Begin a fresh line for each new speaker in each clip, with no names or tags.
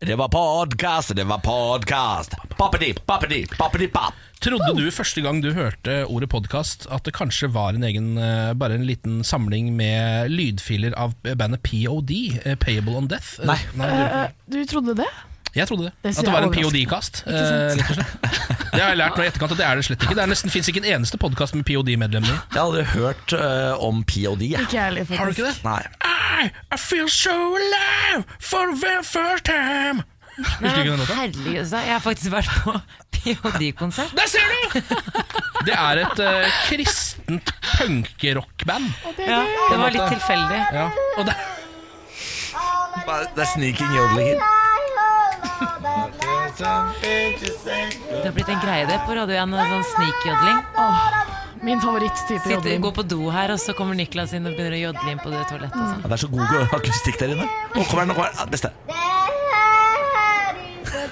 Det var podkast, det var podkast. Pappedi, pappedi, pappedi, papp.
Trodde du første gang du hørte ordet podkast, at det kanskje var en egen eh, Bare en liten samling med lydfiler av bandet POD, eh, Payable on Death? Eh,
Nei.
du-
Du trodde det?
jeg trodde det.
Det synes
at det
jeg
var
er
en POD-kast. eh, rett og slett. Det har jeg lært nå i etterkant at det er det slett ikke. Det er nesten, finnes ikke en eneste podkast med POD-medlemmer i.
Jeg har aldri hørt eh, om POD. jeg.
Ikke jeg heller, faktisk.
Har du ikke det?
Nei.
I, I feel so alive for the very first time. Husker du ikke den låta?
Herlig, så jeg har faktisk vært på POD-konsert.
Der ser du! Det er et eh, kristent punkerockband.
Det er
Ja,
gøy.
det var litt tilfeldig.
Ja. Og det,
Bare- Det er sneaking jodling.
Det har blitt en greie det på Radio 1, sånn snikjodling.
Min favoritttype
Sitter,
jodling.
går på do her, og så kommer Niklas inn og begynner å jodle inn på det toalettet. Og sånn.
Ja, det er så god akustikk der inne. Å, kom her, nå kommer den. Ja, det Beste.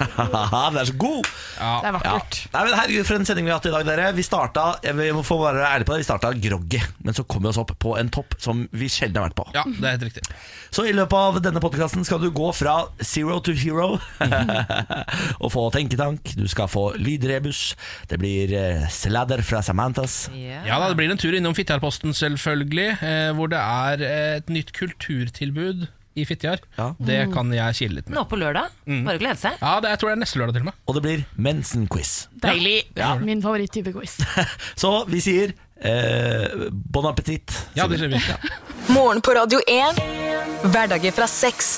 Haha, det er så god.
Det er
Ja.
vakkert.
Nei, men herregud, for en sending vi har hatt i dag, dere. Vi starta jeg vil- jeg må få være ærlig på det, vi starta groggy, men så kom vi oss opp på en topp som vi sjelden har vært på.
ja, det er helt riktig.
Så i løpet av denne podkasten skal du gå fra zero to hero og få tenketank. Du skal få lydrebus. Det blir eh, sladder fra Samanthas.
Ja.
Ja da, Det blir en tur innom Fitjarposten, selvfølgelig, eh, hvor det er et nytt kulturtilbud i Fitjar.
Ja.
Det kan jeg kile litt med.
Nå på lørdag.
Mm.
Bare å glede seg.
Ja, det, Jeg tror det er neste lørdag, til og med.
Og det blir mensen-quiz.
Deilig.
Min favoritttype quiz.
Så vi sier eh, bon appétit.
Ja, det ser vi.
Morgen på Radio 1. Hverdager fra seks.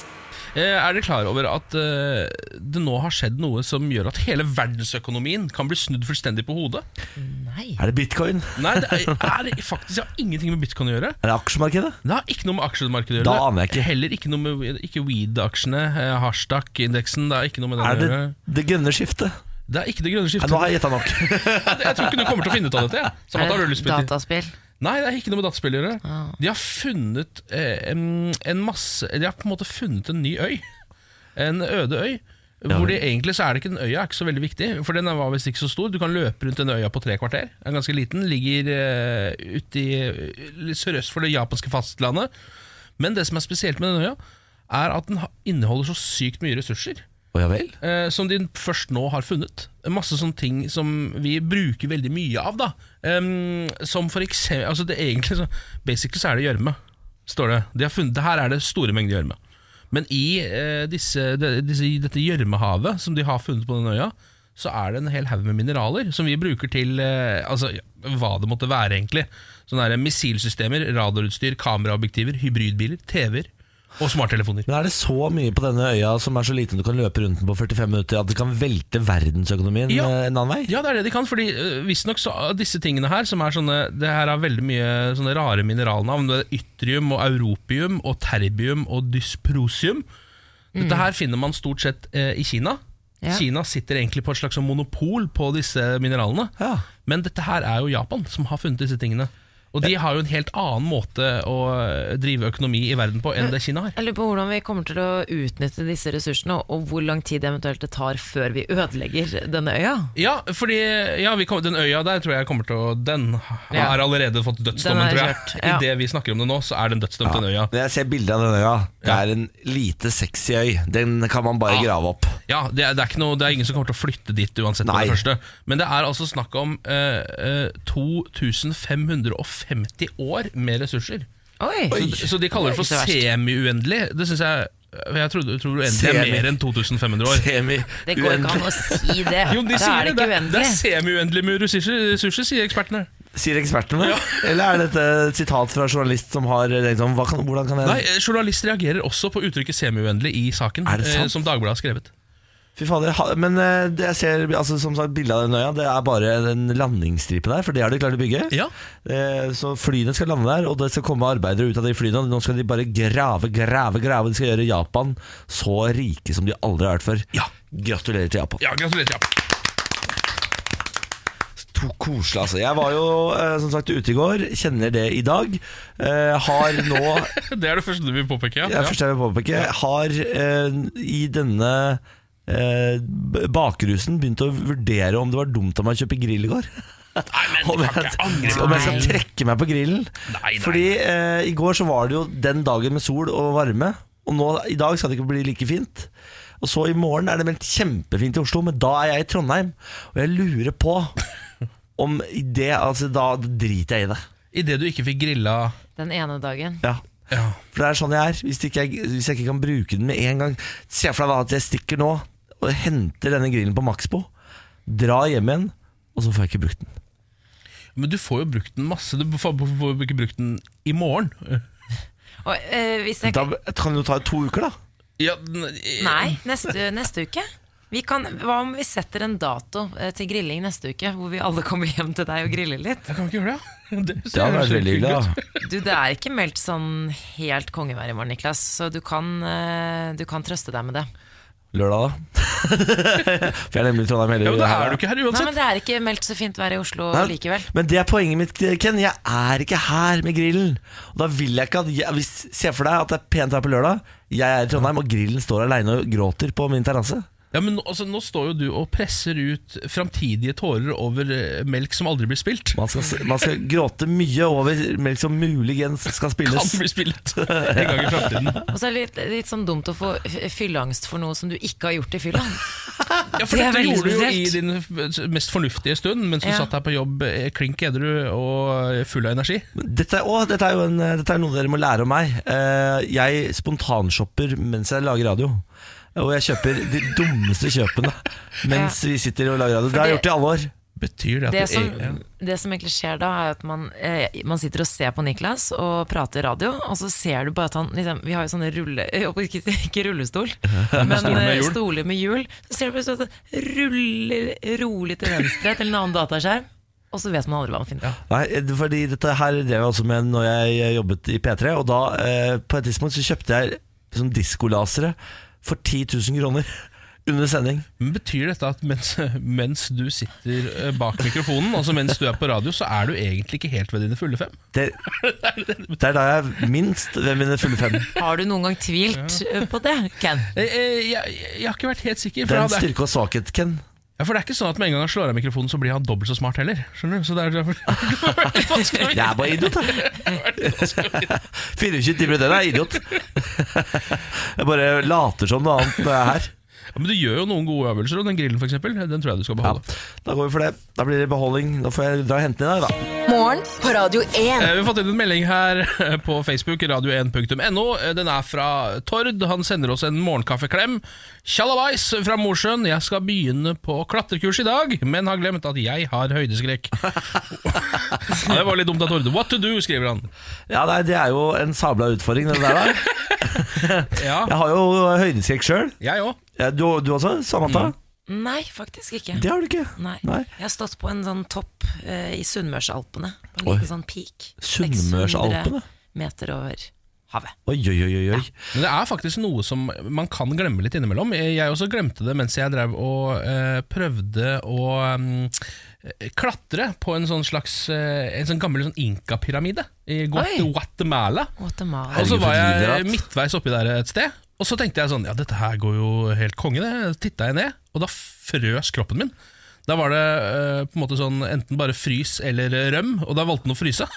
Eh, Er dere klar over at eh, det nå har skjedd noe som gjør at hele verdensøkonomien kan bli snudd fullstendig på hodet?
Nei.
Er det bitcoin?
Nei, det er, er faktisk jeg har ingenting med bitcoin å gjøre.
Er det aksjemarkedet?
Det har ikke noe med aksjemarkedet å gjøre.
Da aner jeg ikke.
Heller ikke noe med ikke weed-aksjene, eh, hashtag-indeksen. Det er ikke noe med den
Er
å
det
gjøre.
det grønne skiftet?
Det er ikke det grønne
Nei,
skiftet.
nå har jeg gjetta nok.
Jeg tror ikke du kommer til å finne ut av dette. jeg. Samantha, har du lyst til å-
dataspill?
Nei, det er ikke noe med dataspill å gjøre. De har funnet eh, en, en masse De har på en måte funnet en ny øy. En øde øy. Hvor de egentlig så er det ikke Den øya er ikke så veldig viktig, for den var visst ikke så stor. Du kan løpe rundt den øya på tre kvarter. Den er ganske liten. Ligger eh, ute i eh, litt sørøst for det japanske fastlandet. Men det som er spesielt med den øya, er at den ha- inneholder så sykt mye ressurser
Å ja vel?
eh, som de først nå har funnet. Masse sånne ting som vi bruker veldig mye av, da. Em, som for eksempel altså det er egentlig, så, Basically så er det gjørme, står det. De har funnet, her er det store mengder gjørme. Men i eh, disse, de, disse, i dette gjørmehavet som de har funnet på den øya, så er det en hel haug med mineraler som vi bruker til eh, altså, ja, hva det måtte være, egentlig. Sånne her missilsystemer, radarutstyr, kameraobjektiver, hybridbiler, TV-er og smarttelefoner.
Men Er det så mye på denne øya som er så liten du kan løpe rundt den på 45 minutter at det kan velte verdensøkonomien
Ja.
eh, en annen vei?
Ja, det er det de kan. Fordi øh, visstnok så øh, disse tingene her, som er sånne Det her har veldig mye sånne rare mineralnavn. Det er Ytrium og europium og terbium og dysprosium. Dette her finner man stort sett eh, i Kina.
Ja.
Kina sitter egentlig på et slags sånn monopol på disse mineralene.
Ja.
Men dette her er jo Japan som har funnet disse tingene. Og de har jo en helt annen måte å øh, drive økonomi i verden på enn det Kina har.
Jeg lurer på hvordan vi kommer til å utnytte disse ressursene, og- og hvor lang tid eventuelt det tar før vi ødelegger denne øya.
Ja, fordi ja, vi kom, den øya der tror jeg kommer til å Den
Ja.
har allerede fått dødsdommen,
Den er
tror jeg.
kjørt, ja.
I det vi snakker om det nå, så er den dødsdømt, den øya.
Når jeg ser bildet av den øya, det
Ja.
er en lite sexy øy. Den kan man bare
Ja.
grave opp.
Ja, det er, det, er ikke noe, det er ingen som kommer til å flytte dit uansett. på
Nei.
det første Men det er altså snakk om eh, eh, 2550 år med ressurser.
Oi!
Så, så de kaller det for
Det er ikke så verst.
semi-uendelig. Det syns jeg Jeg tror, jeg tror uendelig er
Semi.
mer enn 2500 år.
Semi
Det går ikke an å si det.
Jo, de
da
sier
er det
det.
ikke
Det, det
uendelig.
er semi-uendelig med ressurser, ressurser, sier ekspertene.
Sier ekspertene. Eller er dette et eh, sitat fra journalist som har liksom, hva kan, Hvordan kan jeg
Nei, eh, Journalist reagerer også på uttrykket semi-uendelig i saken,
Er det
eh,
sant?
som Dagbladet har skrevet.
Fy fader, ha- Men eh, det jeg ser altså, som sagt, bildet av den øya, det er bare en landingsstripe der, for det har de klart å bygge.
Ja.
Eh, Så flyene skal lande der, og det skal komme arbeidere ut av de flyene. og Nå skal de bare grave, grave, grave. De skal gjøre Japan så rike som de aldri har vært før.
Ja.
Gratulerer til Japan.
Ja, Gratulerer. Ja.
To koselig, altså. Jeg var jo eh, som sagt ute i går, kjenner det i dag. Eh, Har nå
Det er det første du vil påpeke.
Det
Ja.
er første jeg vil påpeke. Har eh, i denne eh, b- bakrusen begynt å vurdere om det var dumt av meg å kjøpe grill i går.
Nei, men
Om
du kan
jeg,
ikke angre på
om jeg skal
det.
trekke meg på grillen.
Nei, nei.
Fordi eh, i går så var det jo den dagen med sol og varme, og nå, i dag skal det ikke bli like fint. Og så i morgen er det meldt kjempefint i Oslo, men da er jeg i Trondheim. Og jeg lurer på om i det Altså, da driter jeg i det.
Idet du ikke fikk grilla
Den ene dagen.
Ja.
ja.
For det er sånn jeg er. Hvis, ikke jeg, hvis jeg ikke kan bruke den med en gang Se for deg da at jeg stikker nå og henter denne grillen på Maxbo, drar hjem igjen, og så får jeg ikke brukt den.
Men du får jo brukt den masse. Du får får- får jo ikke brukt den i morgen.
Og, eh, hvis jeg,
Da kan det jo ta to uker, da.
Ja, den- eh,
nei, neste, neste uke. Vi kan, hva om vi setter en dato eh, til grilling neste uke, hvor vi alle kommer hjem til deg og griller litt?
Jeg kan ikke gjøre det. Det,
Det hadde vært veldig hyggelig. da
Du, Det er ikke meldt sånn helt kongevær i morgen, Niklas, så du kan, eh, du kan trøste deg med det.
Lørdag, da. For jeg er nemlig i Trondheim hele
Ja, men da er
helga.
du ikke her
Nei,
uansett.
men Det er ikke meldt så fint vær i Oslo
Nei,
likevel.
Men det er poenget mitt, Ken. Jeg er ikke her med grillen. Og da vil jeg ikke at jeg, hvis, Se for deg at det er pent her på lørdag. Jeg er i Trondheim, og grillen står aleine og gråter på min terrasse.
Ja, men nå- altså, Nå står jo du og presser ut framtidige tårer over eh, melk som aldri blir spilt.
Man, skal s- man skal gråte mye over melk som muligens skal
Kan
spilles.
bli spilt en gang i framtiden.
Og så er det litt, litt sånn dumt å få f- fylleangst for noe som du ikke har gjort i fylla.
Ja, for
Det er
dette
veldig
gjorde du jo i
spesielt.
din f- mest fornuftige stund mens du
Ja.
satt her på jobb eh, klink edru og eh, full av energi.
Dette, er- å, dette er jo en, dette er noe dere må lære om meg. Eh, Jeg spontanshopper mens jeg lager radio. Og jeg kjøper de dummeste kjøpene mens vi sitter og lager radio. Det har jeg gjort i alle år.
Betyr det at e-
Det
du
som,
egentlig- ja.
det som egentlig skjer da, er at man, eh, man sitter og ser på Niklas og prater radio, og så ser du bare at han liksom, Vi har jo sånne rulle... eh, Ikke, ikke rullestol, men
stoler med
eh,
hjul.
stoler med hjul. Så ser du bare sånn at det ruller rolig til venstre til en annen dataskjerm, og så vet man aldri hva man finner på.
Nei, fordi dette her drev jeg også med når jeg jobbet i P3, og da eh, på et tidspunkt så kjøpte jeg sånn diskolasere for 10 000 kroner under sending.
Men Betyr dette at mens, mens du sitter eh, bak mikrofonen, altså mens du er på radio, så er du egentlig ikke helt ved dine fulle fem?
Det, det er da jeg minst ved mine fulle fem.
Har du noen gang tvilt eh, på det, Ken?
Eh, eh, Jeg, jeg har ikke vært helt sikker.
Det
For,
er en
det er,
styrke og svakhet, Ken.
ja, for det er ikke sånn at med en gang han slår av mikrofonen, så blir han dobbelt så smart heller. Skjønner du? Så det er derfor
Jeg er bare idiot, jeg. 24 timer i døgnet er jeg idiot. Jeg bare later som noe annet når jeg er her.
Ja, Men du gjør jo noen gode øvelser, og den grillen for eksempel, den tror jeg du skal
Ja,
beholde.
da går vi for det. Da blir det beholdning. Da får jeg dra og hente den i dag, da.
Morgen på Radio 1.
Eh, Vi har fått inn en melding her eh, på Facebook, radio1.no. Eh, Den er fra Tord. Han sender oss en morgenkaffeklem. Tjallabais fra Mosjøen. Jeg skal begynne på klatrekurs i dag, men har glemt at jeg har høydeskrekk. ja, det var litt dumt av Tord. What to do, skriver han.
Ja, nei, det er jo en sabla utfordring, det der. da.
Ja,
Jeg har jo høydeskrekk sjøl.
jeg òg.
Ja, du, du også, Samantha?
Nei, faktisk ikke.
Det har du ikke.
Nei.
Nei.
Jeg har stått på en sånn topp eh, i Sunnmørsalpene. På en
Oi.
liten sånn peak.
Sunnmørsalpene?
600 meter over havet.
Oi, oi, oi, oi. oi.
Men det er faktisk noe som man kan glemme litt innimellom. Jeg også glemte det mens jeg drev og eh, prøvde å eh, klatre på en sånn slags eh, En sånn gammel sånn inkapyramide i Guat-
Oi.
Guatemala.
Guatemala.
Og så
Herregud, for
var
et liv dere har
jeg
hatt.
midtveis oppi der et sted, og så tenkte jeg sånn Ja, dette her går jo helt konge, det. Titta jeg ned, og da frøs kroppen min. Da var det eh, på en måte sånn enten bare frys eller røm, og da valgte den å fryse.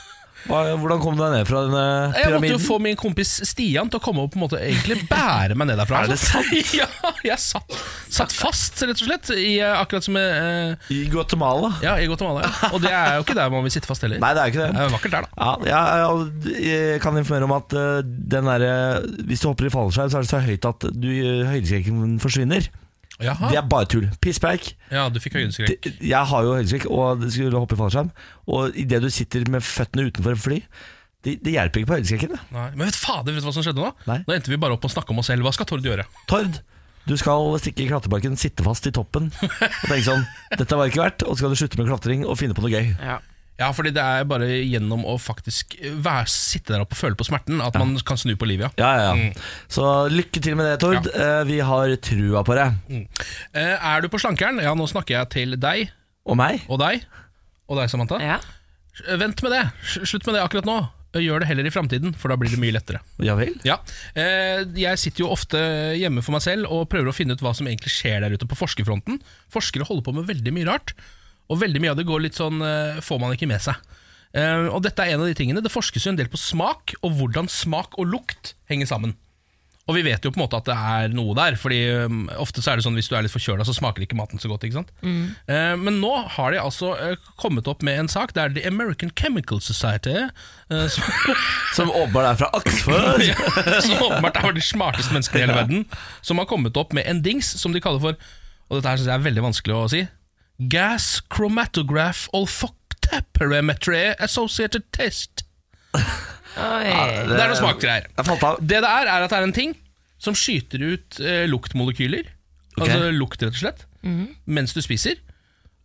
Hva- Hvordan kom du deg ned fra denne
Jeg måtte jo
pyramiden?
få min kompis Stian til å komme og på en måte egentlig bære meg ned derfra.
Er det
sant? Ja, jeg satt, satt fast, rett og slett, i, eh, akkurat som eh,
I Guatemala?
Ja, i Guatemala. ja. Og det er jo ikke der man vil sitte fast heller.
Nei, det er jo ikke
Det
det.
er vakkert der, da.
Ja, ja, ja, og jeg kan informere om at eh, den derre- hvis du hopper i fallskjerm, så er det så høyt at du, eh, høydeskrekken forsvinner.
Jaha.
Det er bare tull. Pisspreik.
Ja, du fikk høydeskrekk.
Det- Jeg har jo høydeskrekk og skulle hoppe i fallskjerm, og idet du sitter med føttene utenfor et fly det, det hjelper ikke på høydeskrekken. det.
Nei. Men vet fader, vet du hva som skjedde nå?
Nei.
Nå endte vi bare opp med å snakke om oss selv. Hva skal Tord gjøre?
Tord, du skal stikke i klatreparken, sitte fast i toppen og tenke sånn Dette var ikke verdt, og så skal du slutte med klatring og finne på noe gøy.
Ja.
Ja, fordi det er bare gjennom å faktisk eh, være, sitte der oppe og føle på smerten at man kan snu på livet, ja.
Ja, ja, ja.
Mm.
Så lykke til med det, Tord. Eh, Vi har trua på deg.
Eh, Er du på slankeren? Ja, nå snakker jeg til deg
Og meg.
og deg og deg, Samantha.
Ja.
Eh, Vent med det. Sl- Slutt med det akkurat nå. Eh, Gjør det heller i framtiden, for da blir det mye lettere.
Ja vel?
Ja. Eh, Jeg sitter jo ofte hjemme for meg selv og prøver å finne ut hva som egentlig skjer der ute på forskerfronten. Forskere holder på med veldig mye rart, og veldig mye av det går litt sånn eh, får man ikke med seg. Eh, Og dette er en av de tingene. Det forskes jo en del på smak, og hvordan smak og lukt henger sammen. Og vi vet jo på en måte at det er noe der, Fordi um, ofte så er det sånn hvis du er litt forkjøla, så smaker ikke maten så godt. ikke sant? Eh, men nå har de altså eh, kommet opp med en sak. Det er The American Chemical Society eh, som,
Som åpenbart er fra Oxford.
ja, som åpenbart er de smarteste menneskene i hele verden, som har kommet opp med en dings som de kaller for Og dette her synes jeg er veldig vanskelig å si. Gas chromatograph olfactaperimetry associated test.
Oi.
Det er noe smaksgreier.
Jeg falt av.
Det det er, er at det er en ting som skyter ut eh, luktmolekyler.
Ok.
Altså lukt, rett og slett. Mens du spiser.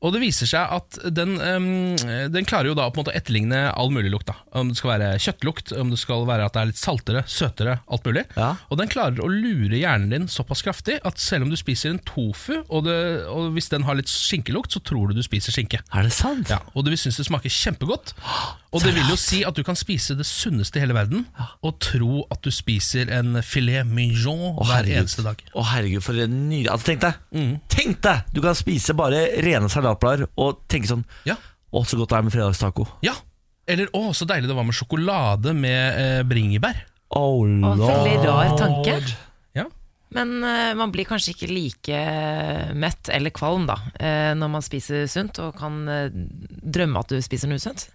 Og det viser seg at den, em, den klarer jo da på en måte å etterligne all mulig lukt. da Om det skal være kjøttlukt, om det skal være at det er litt saltere, søtere, alt mulig.
Ja.
Og den klarer å lure hjernen din såpass kraftig at selv om du spiser en tofu, og, det, og hvis den har litt skinkelukt, så tror du du spiser skinke.
Er det sant?
Ja, og du vil synes det smaker kjempegodt. Og det vil jo si at du kan spise det sunneste i hele verden og tro at du spiser en filet mignon
Å,
hver
herregud.
eneste dag. Mm.
Å herregud, for en ny... Altså, tenk deg, tenk deg, du kan spise bare rene salatblader og tenke sånn,
Ja.
å så godt det er med fredagstaco.
ja. Eller å, så deilig det var med sjokolade med eh, bringebær.
Oh,
Og en
lord.
Veldig rar tanke.
Ja.
Men eh, man blir kanskje ikke like eh, mett eller kvalm da, eh, når man spiser sunt, og kan eh, drømme at du spiser noe sunt.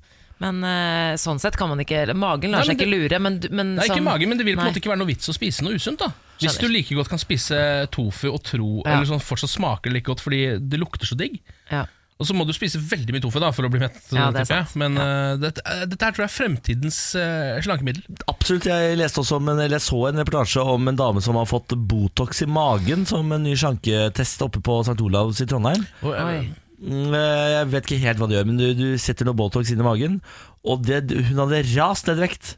Men eh, sånn sett kan man ikke Magen lar
Nei,
seg
men
ikke lure, men, du- men
Det er
sånn-
ikke mage, men det vil på en
Nei.
måte ikke være noe vits å spise noe usunt. da Hvis
Skjønner.
du like godt kan spise tofu og tro
Ja.
Eller sånn fortsatt smaker det like godt fordi det lukter så digg.
ja.
Og så må du spise veldig mye tofu da for å bli mett.
Ja, det er
tipper jeg.
sant.
Men eh, dette, eh, dette her tror jeg er fremtidens eh, slankemiddel.
Absolutt, jeg leste også om en, eller jeg så en reportasje om en dame som har fått Botox i magen som en ny sjanketest oppe på St. Olavs i Trondheim.
Og, eh,
Oi.
Mm, eh, Jeg vet ikke helt hva det gjør, men du, du setter noe Botox inn i magen, og det, hun hadde rast ned i vekt.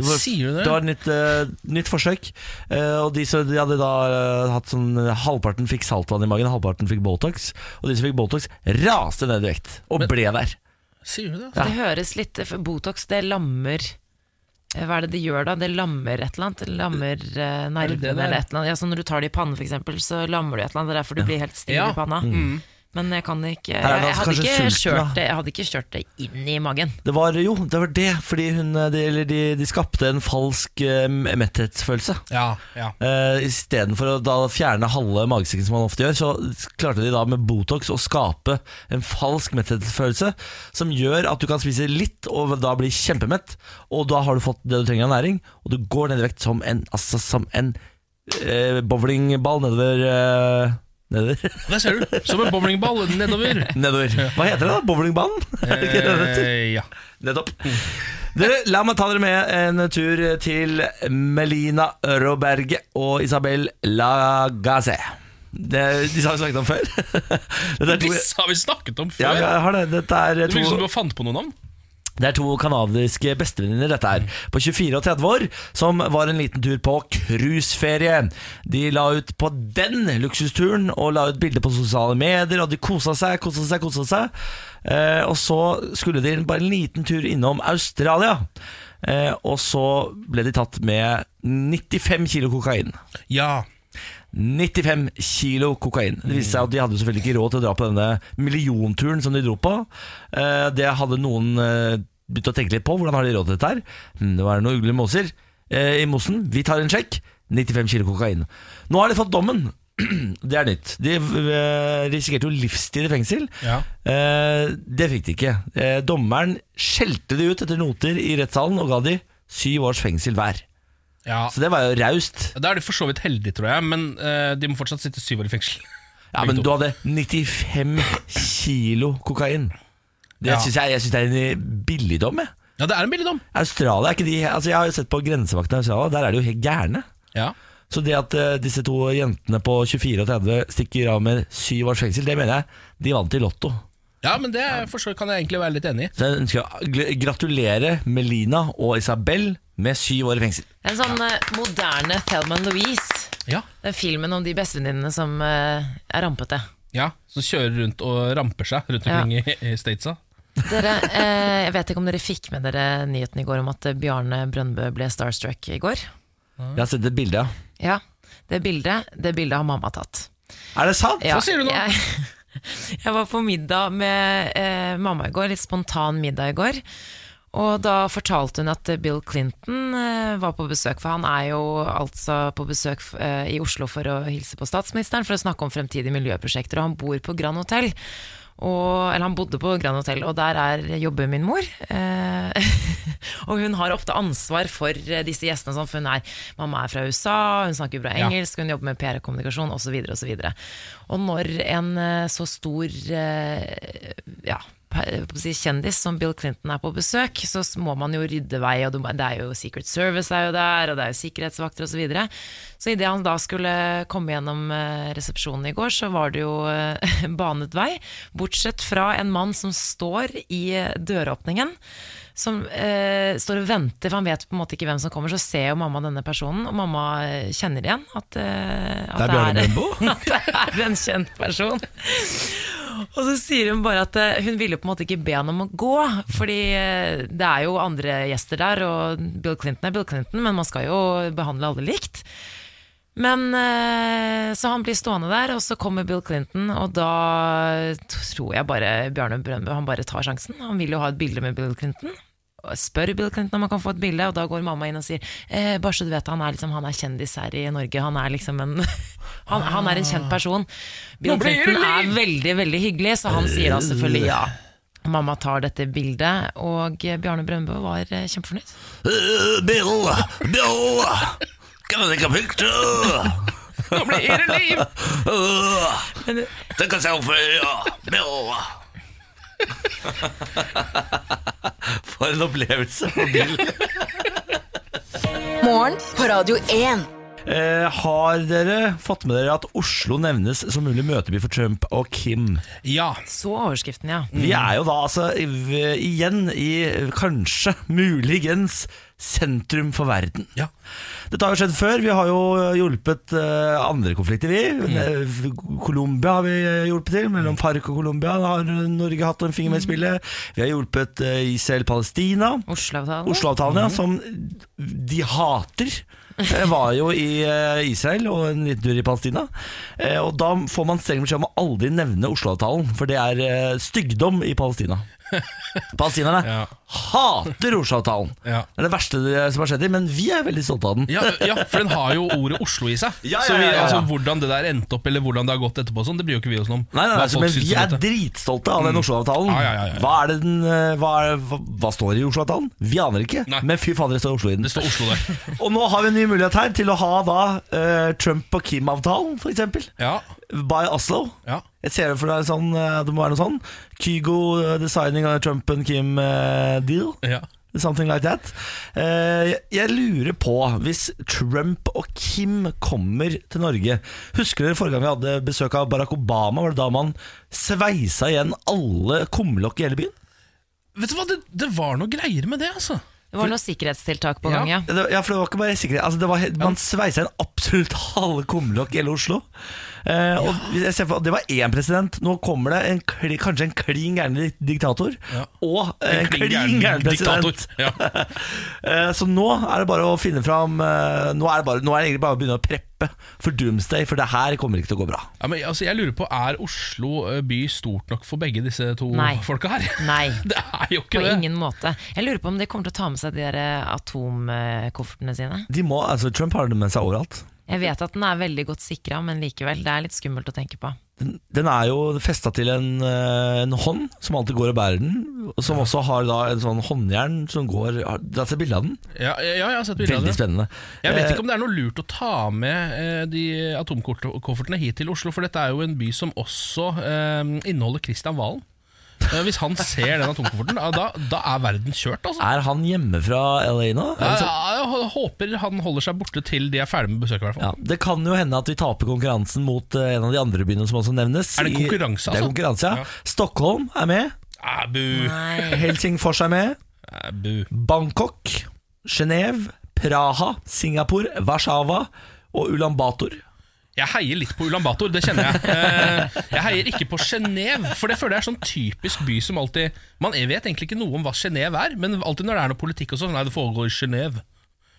Det var,
Sier du det?
var et nytt, eh, nytt forsøk. Eh, og de, som- de hadde da eh, hatt sånn Halvparten fikk saltvann i magen, halvparten fikk Botox. Og de som fikk Botox, raste ned i vekt, og
Men-
ble der.
Sier du det? altså?
Det høres litt eh, for Botox, det lammer eh, Hva er det det gjør da? Det lammer et eller annet. Det lammer eh,
det det
nervene
er?
eller et eller annet. Ja, så når du tar det i pannen, for eksempel, så lammer du et eller annet. Det er derfor du blir helt stiv
Ja.
i panna.
Mm.
Mm.
Men jeg kan ikke
Her er det altså
Jeg, jeg, hadde,
kanskje
ikke
sulten, da.
kjørt det, jeg hadde ikke kjørt det inn i magen.
Det var jo det, var det fordi hun, eh, de, eller de, de skapte en falsk eh, metthetsfølelse.
Ja, ja.
Uh, Istedenfor å da fjerne halve magesekken, som man ofte gjør, så klarte de da med Botox å skape en falsk metthetsfølelse, som gjør at du kan spise litt og da bli kjempemett, og da har du fått det du trenger av næring, og du går ned i vekt som en, altså, som en eh, bowlingball nedover eh, Nedover?
Der ser du, som en bowlingball nedover.
Nedover. Hva heter det, da? Bowlingbanen? Er det ikke det det heter?
Eh, ja.
Nettopp. Dere, la meg ta dere med en tur til Melina Roberge og Isabel Lagasse. Det, disse har vi snakket om før. Dette er to,
Disse har vi snakket om før.
ja, jeg har det. Dette er
det virker som
to,
du bare fant på noen navn.
det er to kanadiske bestevenninner dette her, på 24 og 30 år, som var en liten tur på cruiseferie. De la ut på den luksusturen og la ut bilder på sosiale medier, og de kosa seg, kosa seg, kosa seg. Eh, og så skulle de bare en liten tur innom Australia. Eh, og så ble de tatt med 95 kilo kokain.
Ja.
95 kilo kokain. Det viste seg at de hadde selvfølgelig ikke råd til å dra på denne millionturen som de dro på. Eh, Det hadde noen eh, begynt å tenke litt på. Hvordan har de råd til dette her? Hm, Det var noen ugler i moser eh, i mosen. Vi tar en sjekk. 95 kilo kokain. Nå har de fått dommen. Det er nytt. De eh, risikerte jo livstid i fengsel.
Ja.
Eh, Det fikk de ikke. Eh, Dommeren skjelte de ut etter noter i rettssalen og ga de syv års fengsel hver.
ja.
Så det var jo raust.
Da er de for så vidt heldige, tror jeg, men eh, de må fortsatt sitte syv år i fengsel.
Ja, men du hadde 95 kilo kokain. Det
Ja.
synes jeg, jeg synes det er en billigdom. Jeg.
Ja, det er en billigdom.
Australia er ikke de Altså Jeg har jo sett på grensevakten i Australia, der er de jo helt gærne.
Ja.
Så det at eh, disse to jentene på 24 og 30 stikker av med syv års fengsel, det mener jeg de vant i Lotto.
ja, men det er- for så vidt kan jeg egentlig være litt enig i.
Så jeg ønsker å gl- gratulere Melina og Isabel med syv år i fengsel.
Det er en sånn eh, moderne Thelman Louise.
Ja.
Den filmen om de bestevenninnene som eh, er rampete.
ja. Som kjører rundt og ramper seg rundt omkring i, i statesa.
Dere, eh, jeg vet ikke om dere fikk med dere nyheten i går om at eh, Bjarne Brøndbø ble starstruck i går?
Jeg har sett et bilde, ja.
Ja, det bildet, det bildet har mamma tatt.
Er det sant?
Ja,
Hva sier du nå?
Jeg, jeg var på middag med eh, mamma i går, litt spontan middag i går. Og da fortalte hun at Bill Clinton eh, var på besøk, for han er jo altså på besøk eh, i Oslo for å hilse på statsministeren for å snakke om fremtidige miljøprosjekter, og han bor på Grand Hotel. Og, eller han bodde på Grand Hotel, og der er, jobber min mor. Eh, og hun har ofte ansvar for eh, disse gjestene, og sånn, for hun er, mamma er fra USA, hun snakker bra
Ja.
engelsk, hun jobber med PR og kommunikasjon osv. Og, så videre. og når en eh, så stor eh, ja, pa- jeg holdt på å si, kjendis som Bill Clinton er på besøk, så s- må man jo rydde vei, og du må- det er jo Secret Service er jo der, og det er jo sikkerhetsvakter osv. Så, videre. så idet han da skulle komme gjennom eh, resepsjonen i går, så var det jo eh, banet vei, bortsett fra en mann som står i eh, døråpningen. Som eh, står og venter, for han vet på en måte ikke hvem som kommer. Så ser jo mamma denne personen, og mamma eh, kjenner igjen at, eh, at
Det er Bjarne Brøndbo.
at det er en kjent person. Og så sier hun bare at eh, hun ville på en måte ikke be han om å gå, fordi eh, det er jo andre gjester der, og Bill Clinton er Bill Clinton, men man skal jo behandle alle likt. Men eh, Så han blir stående der, og så kommer Bill Clinton, og da tror jeg bare Bjarne Brøndbø han bare tar sjansen. Han vil jo ha et bilde med Bill Clinton. Og Spør Bill Clinton om han kan få et bilde, og da går mamma inn og sier eh, Bare så du vet, han er, liksom, han er kjendis her i Norge. Han er liksom en Han, han er en kjent person. Bill
Ah. Nå blir det
Clinton
liv!
er veldig, veldig hyggelig, så han sier da selvfølgelig ja.
Eh.
Mamma tar dette bildet, og eh, Bjarne Brøndbø var eh, kjempefornøyd.
Eh, Bill, Bill, kan jeg ta picture?
Nå blir det liv!
Eh, Take a selfie, Bill. For en opplevelse for Bill.
Morgen på Radio 1.
Eh, har dere fått med dere at Oslo nevnes som mulig møteby for Trump og Kim?
Ja.
Så overskriften, ja.
Vi
Mm.
er jo da altså i- v- igjen i kanskje, muligens, sentrum for verden.
Ja.
Dette har jo skjedd før. Vi har jo hjulpet eh, andre konflikter, vi.
Mm.
Eh, Colombia har vi eh, hjulpet til. Mellom FARC og Colombia har Norge hatt en
Mm.
finger med i spillet. Vi har hjulpet eh, Israel-Palestina.
Oslo-avtalen.
Oslo-avtalen,
Mm.
ja, som de hater. Jeg var jo i eh, Israel og en liten tur i Palestina. Eh, Og da får man streng beskjed om å aldri nevne Oslo-avtalen, for det er eh, stygdom i Palestina. Palestinerne
Ja.
hater Oslo-avtalen.
Ja.
Det er det verste det- som har skjedd dem, men vi er veldig stolte av den.
Ja, ja, for den har jo ordet Oslo i seg.
Ja, ja,
Så vi,
ja, ja, ja.
altså, hvordan det der endte opp, eller hvordan det har gått etterpå, og sånn, det bryr jo ikke vi oss om.
Nei, nei,
Hva
altså,
folk
men
syns
vi
om
er
dette.
dritstolte av den Oslo-avtalen.
Mm. Ja, ja, ja, ja.
Hva, er det den, eh, hva, er- hva, hva står det i Oslo-avtalen? Vi aner ikke,
Nei.
men fy fader, det står Oslo i den.
Det står Oslo der.
Og nå har vi en ny mulighet her til å ha da eh, Trump og Kim-avtalen, for eksempel.
Ja,
By Oslo.
ja.
Jeg ser det for deg sånn, eh, det må være noe sånn. Kygo eh, designing av Trump and Kim eh, deal.
Ja.
Something like that. Eh, jeg- jeg lurer på, hvis Trump og Kim kommer til Norge Husker dere forrige gang vi hadde besøk av Barack Obama? Var det da man sveisa igjen alle kumlokk i hele byen?
Vet du hva, det, det var noe greier med det, altså.
Det var noen sikkerhetstiltak på
Ja.
gang, ja.
Ja, det- Ja, for det var ikke bare sikkerhet altså, det var, he- Man sveisa inn absolutt halve kumlokk i hele Oslo eh, og jeg ser for, Det var én president Nå kommer det en, kli- kanskje en klin gæren di- diktator
Ja.
Og eh, en klin
gæren
gæren president
diktator. Ja.
eh, Så nå er det bare å finne fram eh, nå, er det bare, nå er det egentlig bare å begynne å preppe For doomsday, for det her kommer ikke til å gå bra
Ja, men, altså, jeg lurer på, er Oslo eh, by stort nok for begge disse to
Nei.
folka her?
Nei.
Det er jo
På
ikke det.
ingen måte. Jeg lurer på om de kommer til å ta med seg de der eh, atomkoffertene sine.
De må, altså Trump har det med seg overalt
Jeg vet at den er veldig godt sikra, men likevel, det er litt skummelt å tenke på.
den, den er jo festa til en, eh, en hånd som alltid går og bærer den, og som også har da en sånn håndjern som går har- Det er et bilde av den.
Ja, ja, jeg har sett bilder av
Veldig
det.
spennende.
Jeg vet ikke om det er noe lurt å ta med eh, de atomkoffertene hit til Oslo, for dette er jo en by som også eh, inneholder Kristian Valen. Eh, hvis han ser den atomkofferten, ja, da, da er verden kjørt, altså.
Er han hjemme fra LA nå?
Ja,
Er det så-
ja, jeg hå- håper han holder seg borte til de er ferdig med besøket. i hvert fall
Ja, det kan jo hende at vi taper konkurransen mot eh, en av de andre byene som også nevnes.
Er det
I-
konkurranse, altså?
Det er konkurranse, ja.
Ja.
Stockholm er med.
Ah, bu.
Nei.
Helsingfors er med.
Ah, bu.
Bangkok, Genéve, Praha, Singapore, Warszawa og Ulan Bator.
Jeg heier litt på Ulan Bator, det kjenner jeg. Eh, Jeg heier ikke på Genéve, for det føler jeg er sånn typisk by som alltid Man vet egentlig ikke noe om hva Genéve er, men alltid når det er noe politikk og sånn, nei, det foregår i Genéve.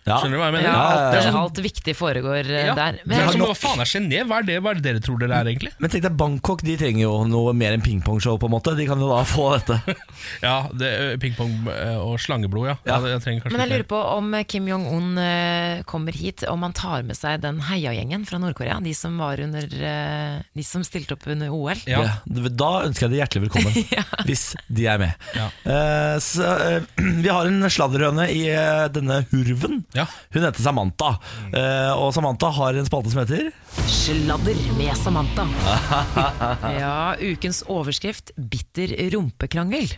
Ja.
Skjønner du hva jeg mener?
Ja,
ja,
alt,
ja.
Det er sånn-
alt viktig foregår eh,
ja.
der.
det
Men,
er sånn som, hva faen er Genéve? Hva er det hva er det dere tror dere er, egentlig?
Men tenk deg, Bangkok de trenger jo noe mer enn pingpongshow, på en måte. De kan jo da få dette.
Ja, det er Pingpong eh, og slangeblod, ja. ja.
Ja.
det- jeg trenger kanskje
men jeg
ikke-
lurer på om Kim Jong-un eh, kommer hit, om han tar med seg den heiagjengen fra Nord-Korea. De som var under eh, De som stilte opp under OL.
ja.
Det, da ønsker jeg deg hjertelig velkommen, hvis de er med.
Ja.
Eh, så, eh, vi har en sladderhøne i eh, denne hurven.
Ja. Mm.
Hun heter Samantha, Eh, og Samantha har en spalte som heter
Sladder med Samantha.
Ja, ukens overskrift 'Bitter rumpekrangel'.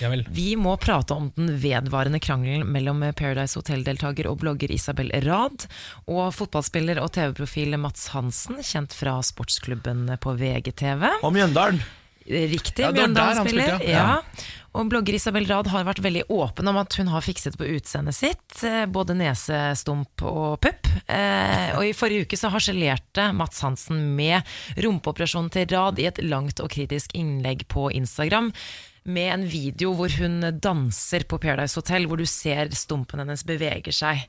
ja vel.
Vi må prate om den vedvarende krangelen mellom Paradise Hotel-deltaker og blogger Isabel Rad og fotballspiller og TV-profil Mats Hansen, kjent fra sportsklubben på VGTV.
Om Mjøndalen.
Riktig,
Ja, det var der han
Mjøndalen-spiller.
spilte, ja.
Ja. Og blogger Isabel Rad har vært veldig åpen om at hun har fikset på utseendet sitt. eh, Både nesestump og pupp. Eh, og i forrige uke så harselerte Mats Hansen med rumpeoperasjonen til Rad i et langt og kritisk innlegg på Instagram. Med en video hvor hun danser på Paradise Hotel, hvor du ser stumpen hennes beveger seg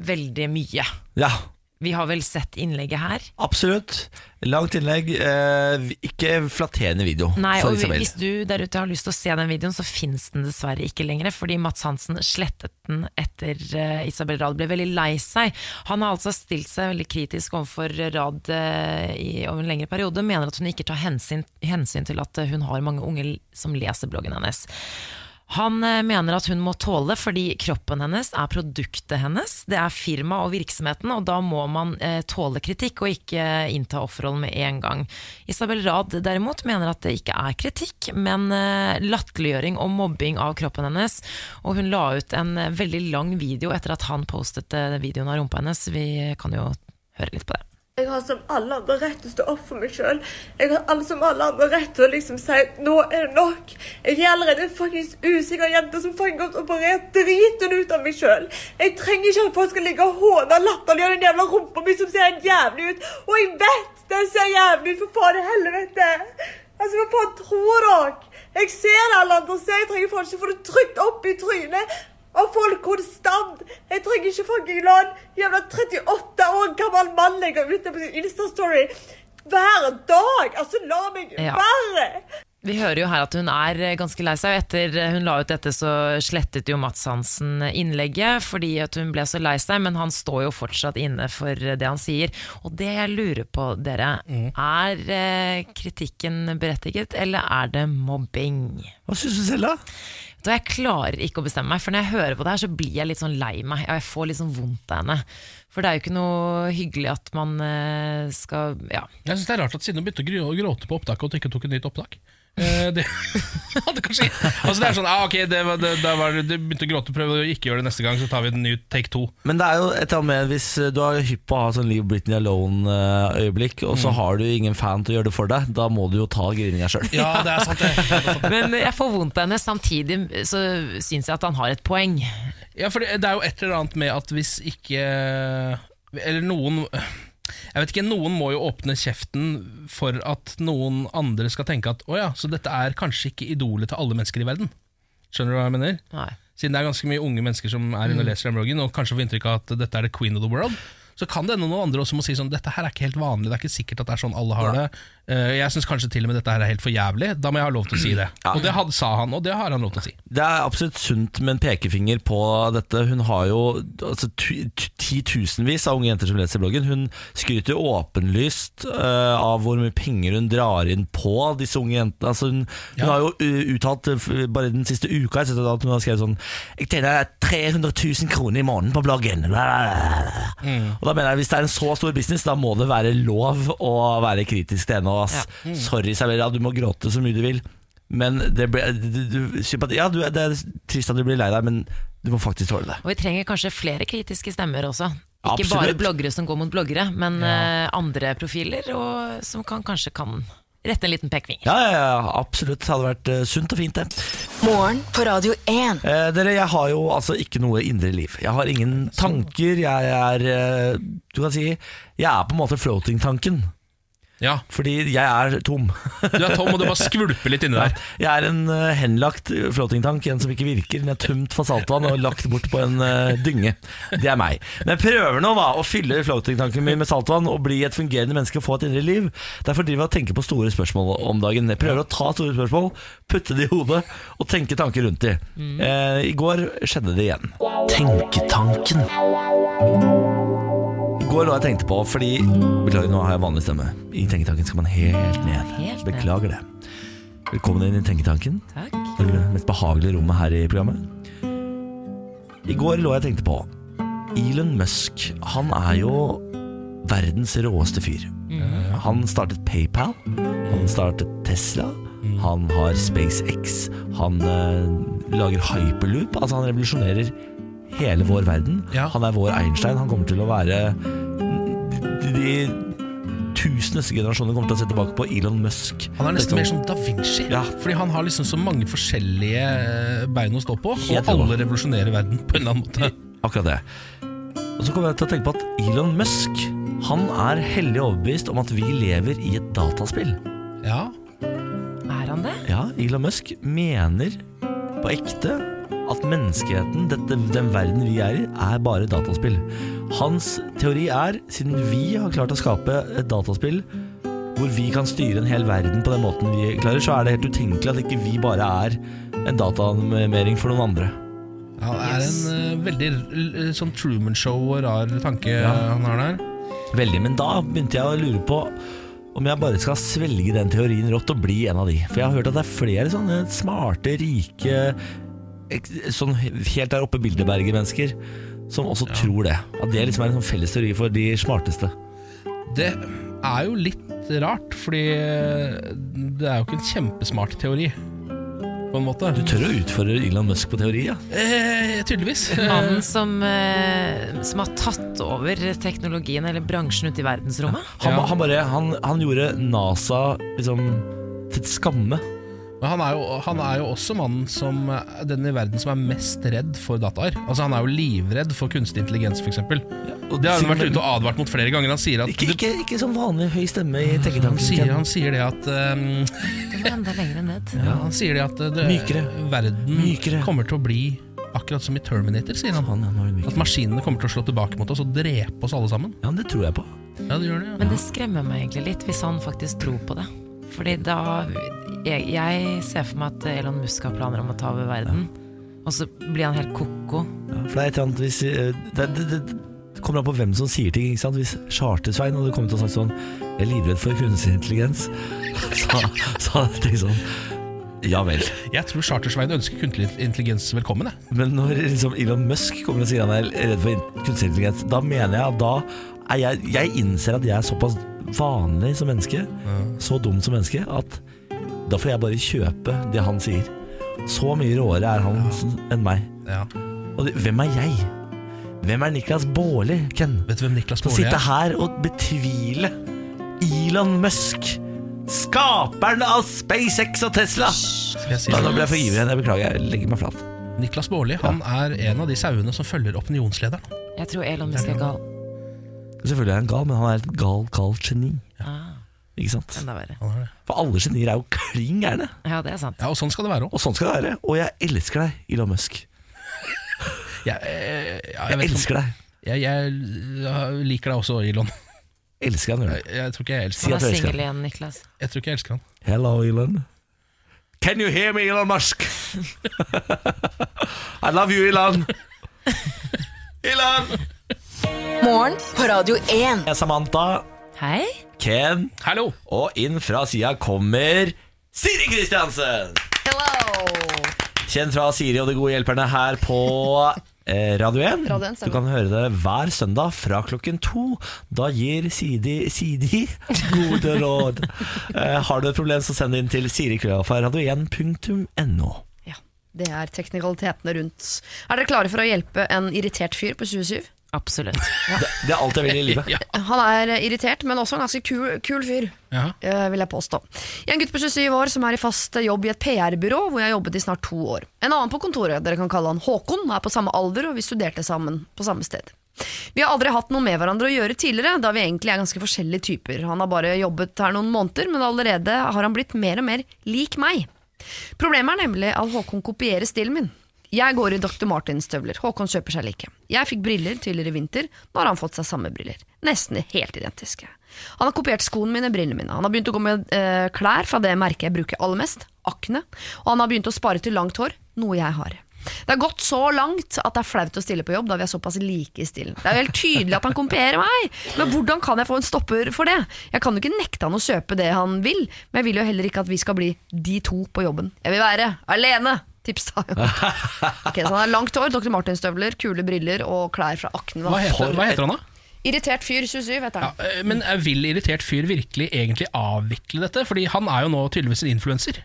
veldig mye.
Ja,
Vi har vel sett innlegget her?
absolutt. Langt innlegg. Eh, ikke flatterende video
Nei,
for
og
Isabel.
hvis du der ute har lyst til å se den videoen, så finnes den dessverre ikke lenger, fordi Mats Hansen slettet den etter eh, Isabel Rad ble veldig lei seg. Han har altså stilt seg veldig kritisk overfor Rad eh, i, over en lengre periode, mener at hun ikke tar hensyn, hensyn til at eh, hun har mange unge l- som leser bloggen hennes. Han eh, mener at hun må tåle fordi kroppen hennes er produktet hennes. Det er firmaet og virksomheten, og da må man eh, tåle kritikk og ikke eh, innta offerrollen med en gang. Isabel Rad derimot mener at det ikke er kritikk, men eh, latterliggjøring og mobbing av kroppen hennes. Og hun la ut en eh, veldig lang video etter at han postet eh, videoen av rumpa hennes. Vi kan jo høre litt på det.
Jeg har som alle andre rett til å stå opp for meg sjøl. Jeg har alle som alle andre rett til å liksom si nå er det nok. Jeg er allerede en fuckings usikker jente som fucking godt operert driten ut av meg sjøl. Jeg trenger ikke at folk skal ligge og håne og latterliggjøre den jævla rumpa mi som ser helt jævlig ut. Og jeg vet den ser jævlig ut, for faen i helvete. Altså, hva faen tror dere? Jeg ser det alle andre ser, jeg trenger faen ikke få det trykt opp i trynet. Og folk konstant. Jeg trenger ikke fucking la en jævla 38 år gammel mann legge ut det på sin Insta-story hver dag. Altså, la meg
Ja.
være!
Vi hører jo her at hun er eh, ganske lei seg. og Etter eh, hun la ut dette, så slettet jo Mats Hansen eh, innlegget fordi at hun ble så lei seg, men han står jo fortsatt inne for eh, det han sier. Og det jeg lurer på, dere,
Mm.
er eh, kritikken berettiget, eller er det mobbing?
Hva syns du selv, da?
Da jeg klarer ikke å bestemme meg, for når jeg hører på det her, så blir jeg litt sånn lei meg, og jeg får litt sånn vondt av henne. For det er jo ikke noe hyggelig at man eh, skal Ja.
Jeg synes det er rart at siden hun begynte å gry- å gråte på opptaket, og at hun ikke tok et nytt opptak. Eh, Det hadde kanskje Altså det er sånn, ah, ok, det var, det, da var det, du begynte å gråte, prøv å ikke gjøre det neste gang, så tar vi en ny take to.
Men det er jo et eller annet med hvis du er hypp på å ha sånn Leave Britney Alone-øyeblikk, og
Mm.
så har du ingen fan til å gjøre det for deg, da må du jo ta grininga sjøl.
Ja, det er sant, det.
Men jeg får vondt av henne. Samtidig så syns jeg at han har et poeng.
Ja, for det, det er jo et eller annet med at hvis ikke Eller noen Jeg vet ikke, noen må jo åpne kjeften for at noen andre skal tenke at å ja, så dette er kanskje ikke idolet til alle mennesker i verden. Skjønner du hva jeg mener?
Nei.
Siden det er ganske mye unge mennesker som er inne og leser den bloggen, og kanskje får inntrykk av at dette er the queen of the world, så kan det hende noen andre også må si sånn dette her er ikke helt vanlig, det er ikke sikkert at det er sånn alle har det. Eh, jeg syns kanskje til og med dette her er helt for jævlig, da må jeg ha lov til å si det. Og det had, sa han, og det har han lov til å si.
Det er absolutt sunt med en pekefinger på dette. Hun har jo altså, tu- tu- titusenvis av unge jenter som leser bloggen. Hun skryter jo åpenlyst eh, av hvor mye penger hun drar inn på disse unge jentene. Altså, hun, hun
Ja.
har jo eh, uttalt eh, f- bare den siste uka jeg at hun har skrevet sånn Jeg tjener 300 000 kroner i måneden på bloggen. Og da mener jeg Hvis det er en så stor business, da må det være lov å være kritisk til henne. og Ass. Sorry, Isabella, du må gråte så mye du vil. Men det ble, du, du, sympati, ja, du, det er trist at du blir lei deg, men du må faktisk tåle det.
Og vi trenger kanskje flere kritiske stemmer også. Ikke
Absolutt.
bare bloggere som går mot bloggere, men eh, andre profiler og, som kan, kanskje kan rette en liten pekefinger.
Ja, ja, ja absolutt. Det hadde vært eh, sunt og fint, det.
Morgen på Radio 1.
Eh, dere, jeg har jo altså ikke noe indre liv. Jeg har ingen tanker. Jeg er eh, Du kan si Jeg er på en måte floating-tanken.
Ja,
Fordi jeg er tom.
Du er tom, og du bare skvulper litt inni der.
Jeg er en eh, henlagt floatingtank, en som ikke virker. Den er tømt for saltvann og lagt bort på en eh, dynge. Det er meg. Men jeg prøver nå da å fylle floatingtanken min med saltvann og bli et fungerende menneske og få et indre liv. Derfor driver jeg og tenker på store spørsmål om dagen. Jeg prøver å ta store spørsmål, putte det i hodet og tenke tanker rundt de.
Mm.
Eh, I går skjedde det igjen. Tenketanken. I går lå jeg og tenkte på, fordi Beklager, nå har jeg vanlig stemme. I tenketanken skal man helt ned.
Helt ned.
Beklager det. Velkommen inn i Tenketanken.
Takk.
Det mest behagelige rommet her i programmet. I går lå jeg og tenkte på Elon Musk, han er jo verdens råeste fyr. Han startet PayPal, han startet Tesla,
Mm.
han har SpaceX, han eh, lager hyperloop. Altså, han revolusjonerer hele vår verden.
Ja.
Han er vår Einstein. Han kommer til å være De, de tuseneste generasjoner kommer til å se tilbake på Elon Musk.
Han er
Dette-
nesten mer som da Vinci.
Ja.
Fordi han har liksom så mange forskjellige eh, bein å stå på,
Helt
og alle revolusjonerer verden på en eller annen måte.
Akkurat det. Og så kommer jeg til å tenke på at Elon Musk han er hellig overbevist om at vi lever i et dataspill.
Ja,
Er han det?
Ja, Elon Musk mener på ekte at menneskeheten, dette, den verden vi er i, er bare dataspill. Hans teori er, siden vi har klart å skape et dataspill hvor vi kan styre en hel verden på den måten vi klarer, så er det helt utenkelig at ikke vi bare er en dataanimering for noen andre.
Han er en eh, veldig eh, sånn Truman Show og rar tanke eh, han har der.
Veldig, men da begynte jeg å lure på om jeg bare skal svelge den teorien rått og bli en av de. For jeg har hørt at det er flere sånne smarte, rike, ek- sånn helt der oppe Bilderberger-mennesker som også tror det. At det liksom er en sånn felles teori for de smarteste.
Det er jo litt rart, fordi eh, det er jo ikke en kjempesmart teori, på en måte.
Du tør å utfordre Elon Musk på teori, ja?
Eh, tydeligvis.
Mannen som, eh, som har tatt over teknologien eller bransjen ute i verdensrommet?
Han,
Ja.
han bare han, han gjorde NASA liksom til skamme.
Men han er, jo, han er jo også mannen som den i verden som er mest redd for dataer. Altså Han er jo livredd for kunstig intelligens, f.eks.
og
det har han
sikkert-
vært ute og advart mot flere ganger. Han sier at
Ikke, ikke, ikke sånn vanlig høy stemme i
han, Ah, sier,
tenketanken.
han sier det at ehm,
Den var enda lenger ned.
ja, Han sier det at eh, det,
Mykere.
verden
Mykere.
kommer til å bli akkurat som i Terminator, sier han.
Han, ja, nå er vi myk.
At maskinene kommer til å slå tilbake mot oss og drepe oss alle sammen.
Ja, det tror jeg på.
Ja, det gjør det, ja.
Men det skremmer meg egentlig litt, hvis han faktisk tror på det. Fordi da jeg, jeg ser for meg at Elon Musk har planer om å ta over verden. Og så blir han helt ko-ko.
Ja, For det er et eller annet hvis eh, det, det, det, det kommer an på hvem som sier ting. Ikke sant? Hvis Charter-Svein hadde kommet og sagt sånn Jeg er livredd for kunstig intelligens, så, så hadde jeg tenkt sånn Ja vel.
Jeg tror Chartersveien ønsker kunstig intelligens velkommen. Jeg.
Men når liksom Elon Musk kommer og sier han er redd for in- kunstig intelligens, da mener jeg at da er jeg, jeg innser at jeg er såpass vanlig som menneske, så dum som menneske, at da får jeg bare kjøpe det han sier. Så mye råere er han enn meg.
Ja.
Og det, hvem er jeg? Hvem er Niklas Baarli, Ken?
Vet du hvem Niklas
Å
Baarli
sitte
er?
her og betvile Elon Musk, skaperen av SpaceX og Tesla.
Skal jeg si
Ja,
det?
nå ble jeg for ivrig igjen. Jeg beklager. Jeg legger meg flat.
Niklas Baarli han er en av de sauene som følger opinionslederen.
Jeg tror Elon Musk er gal.
Selvfølgelig er han gal, men han er et gal, gal geni.
Ah,
Ikke sant?
enda verre.
Han er det.
For alle genier er jo klin gærne.
Ja, det er sant.
Ja, og sånn skal det være òg.
Og sånn skal det være. Og jeg elsker deg, Elon Musk.
Jeg, eh, ja, jeg,
Jeg
vet ikke om-
elsker deg.
jeg, jeg, jeg liker deg også, Elon.
Elsker han,
Jeg,
Jørgen.
jeg, tror ikke jeg, elsker,
Si
Han
at
er
du elsker
singel
han.
igjen, Niklas.
jeg tror ikke jeg elsker han.
Hello, Elon. Can you hear me, Elon Musk? I love you, Elon. Elon!
Morgen på Radio 1.
Jeg er Samantha,
Hei.
Ken
Hallo!
Og inn fra sida kommer Siri Kristiansen! Kjent fra Siri og De gode hjelperne her på eh, Radio 1.
Radio 1,
du
stemmer.
kan høre det hver søndag fra klokken to. Da gir Sidi Sidi gode råd. Eh, har du et problem, så send det inn til sirikrøllalfa.radio1.no.
Ja, det er teknikalitetene rundt. Er dere klare for å hjelpe en irritert fyr på 27?
Absolutt.
Det er alt jeg vil i livet.
Ja.
Han er eh, irritert, men også en ganske kul, kul fyr,
Ja.
eh, vil jeg påstå. En gutt på 27 år som er i fast eh, jobb i et PR-byrå, hvor jeg har jobbet i snart to år. En annen på kontoret, dere kan kalle han Håkon, er på samme alder, og vi studerte sammen på samme sted. Vi har aldri hatt noe med hverandre å gjøre tidligere, da vi egentlig er ganske forskjellige typer. Han har bare jobbet her noen måneder, men allerede har han blitt mer og mer lik meg. Problemet er nemlig at Håkon kopierer stilen min. Jeg går i Dr. Martins-støvler. Håkon kjøper seg like. Jeg fikk briller tidligere i vinter. Nå har han fått seg samme briller. Nesten helt identiske. Han har kopiert skoene mine, brillene mine. Han har begynt å gå med eh, klær fra det merket jeg bruker aller mest, Akne. Og han har begynt å spare til langt hår, noe jeg har. Det har gått så langt at det er flaut å stille på jobb, da vi er såpass like i stilen. Det er jo helt tydelig at han kopierer meg, men hvordan kan jeg få en stopper for det? Jeg kan jo ikke nekte han å kjøpe det han vil, men jeg vil jo heller ikke at vi skal bli de to på jobben. Jeg vil være alene! Tips da. Ok, så han har langt hår, Dr. Martin-støvler, kule briller og klær fra Akne.
Hva
da.
heter, hva heter han, da?
Irritert fyr 27 heter
Ja,
han.
eh, men eh, vil irritert fyr virkelig egentlig avvikle dette? Fordi han er jo nå tydeligvis en influenser.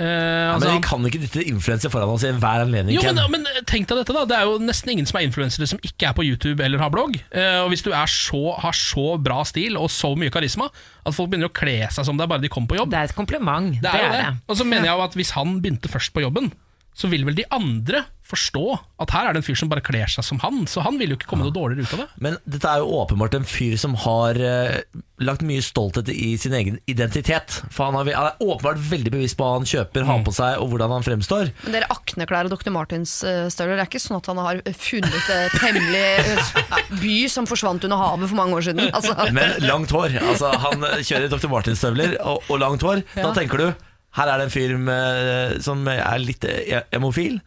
Eh, altså,
Men vi
han-
kan ikke dytte influenser foran oss i enhver anledning.
jo, men,
Ken.
men eh, tenk deg dette da Det er jo nesten ingen som er influensere som ikke er på YouTube eller har blogg. Eh, og hvis du er så, har så bra stil og så mye karisma at folk begynner å kle seg som deg bare de kommer på jobb
Det er et kompliment.
Det er jo det. Og så mener jeg jo at hvis han begynte først på jobben, så vil vel de andre forstå at her er det en fyr som bare kler seg som han, så han vil jo ikke komme noe dårligere ut av det.
Men dette er jo åpenbart en fyr som har eh, lagt mye stolthet i sin egen identitet. For han, har, han er åpenbart veldig bevisst på hva han kjøper, har på seg og hvordan han fremstår.
Men dere Akne-klær og Dr. Martins-støvler, det er ikke sånn at han har funnet et hemmelig eh, by som forsvant under havet for mange år siden? Altså.
Men langt hår. Altså, han eh, kjører Dr. Martins-støvler og, og langt hår. Da tenker du her er det en fyr med, som er litt eh, emofil.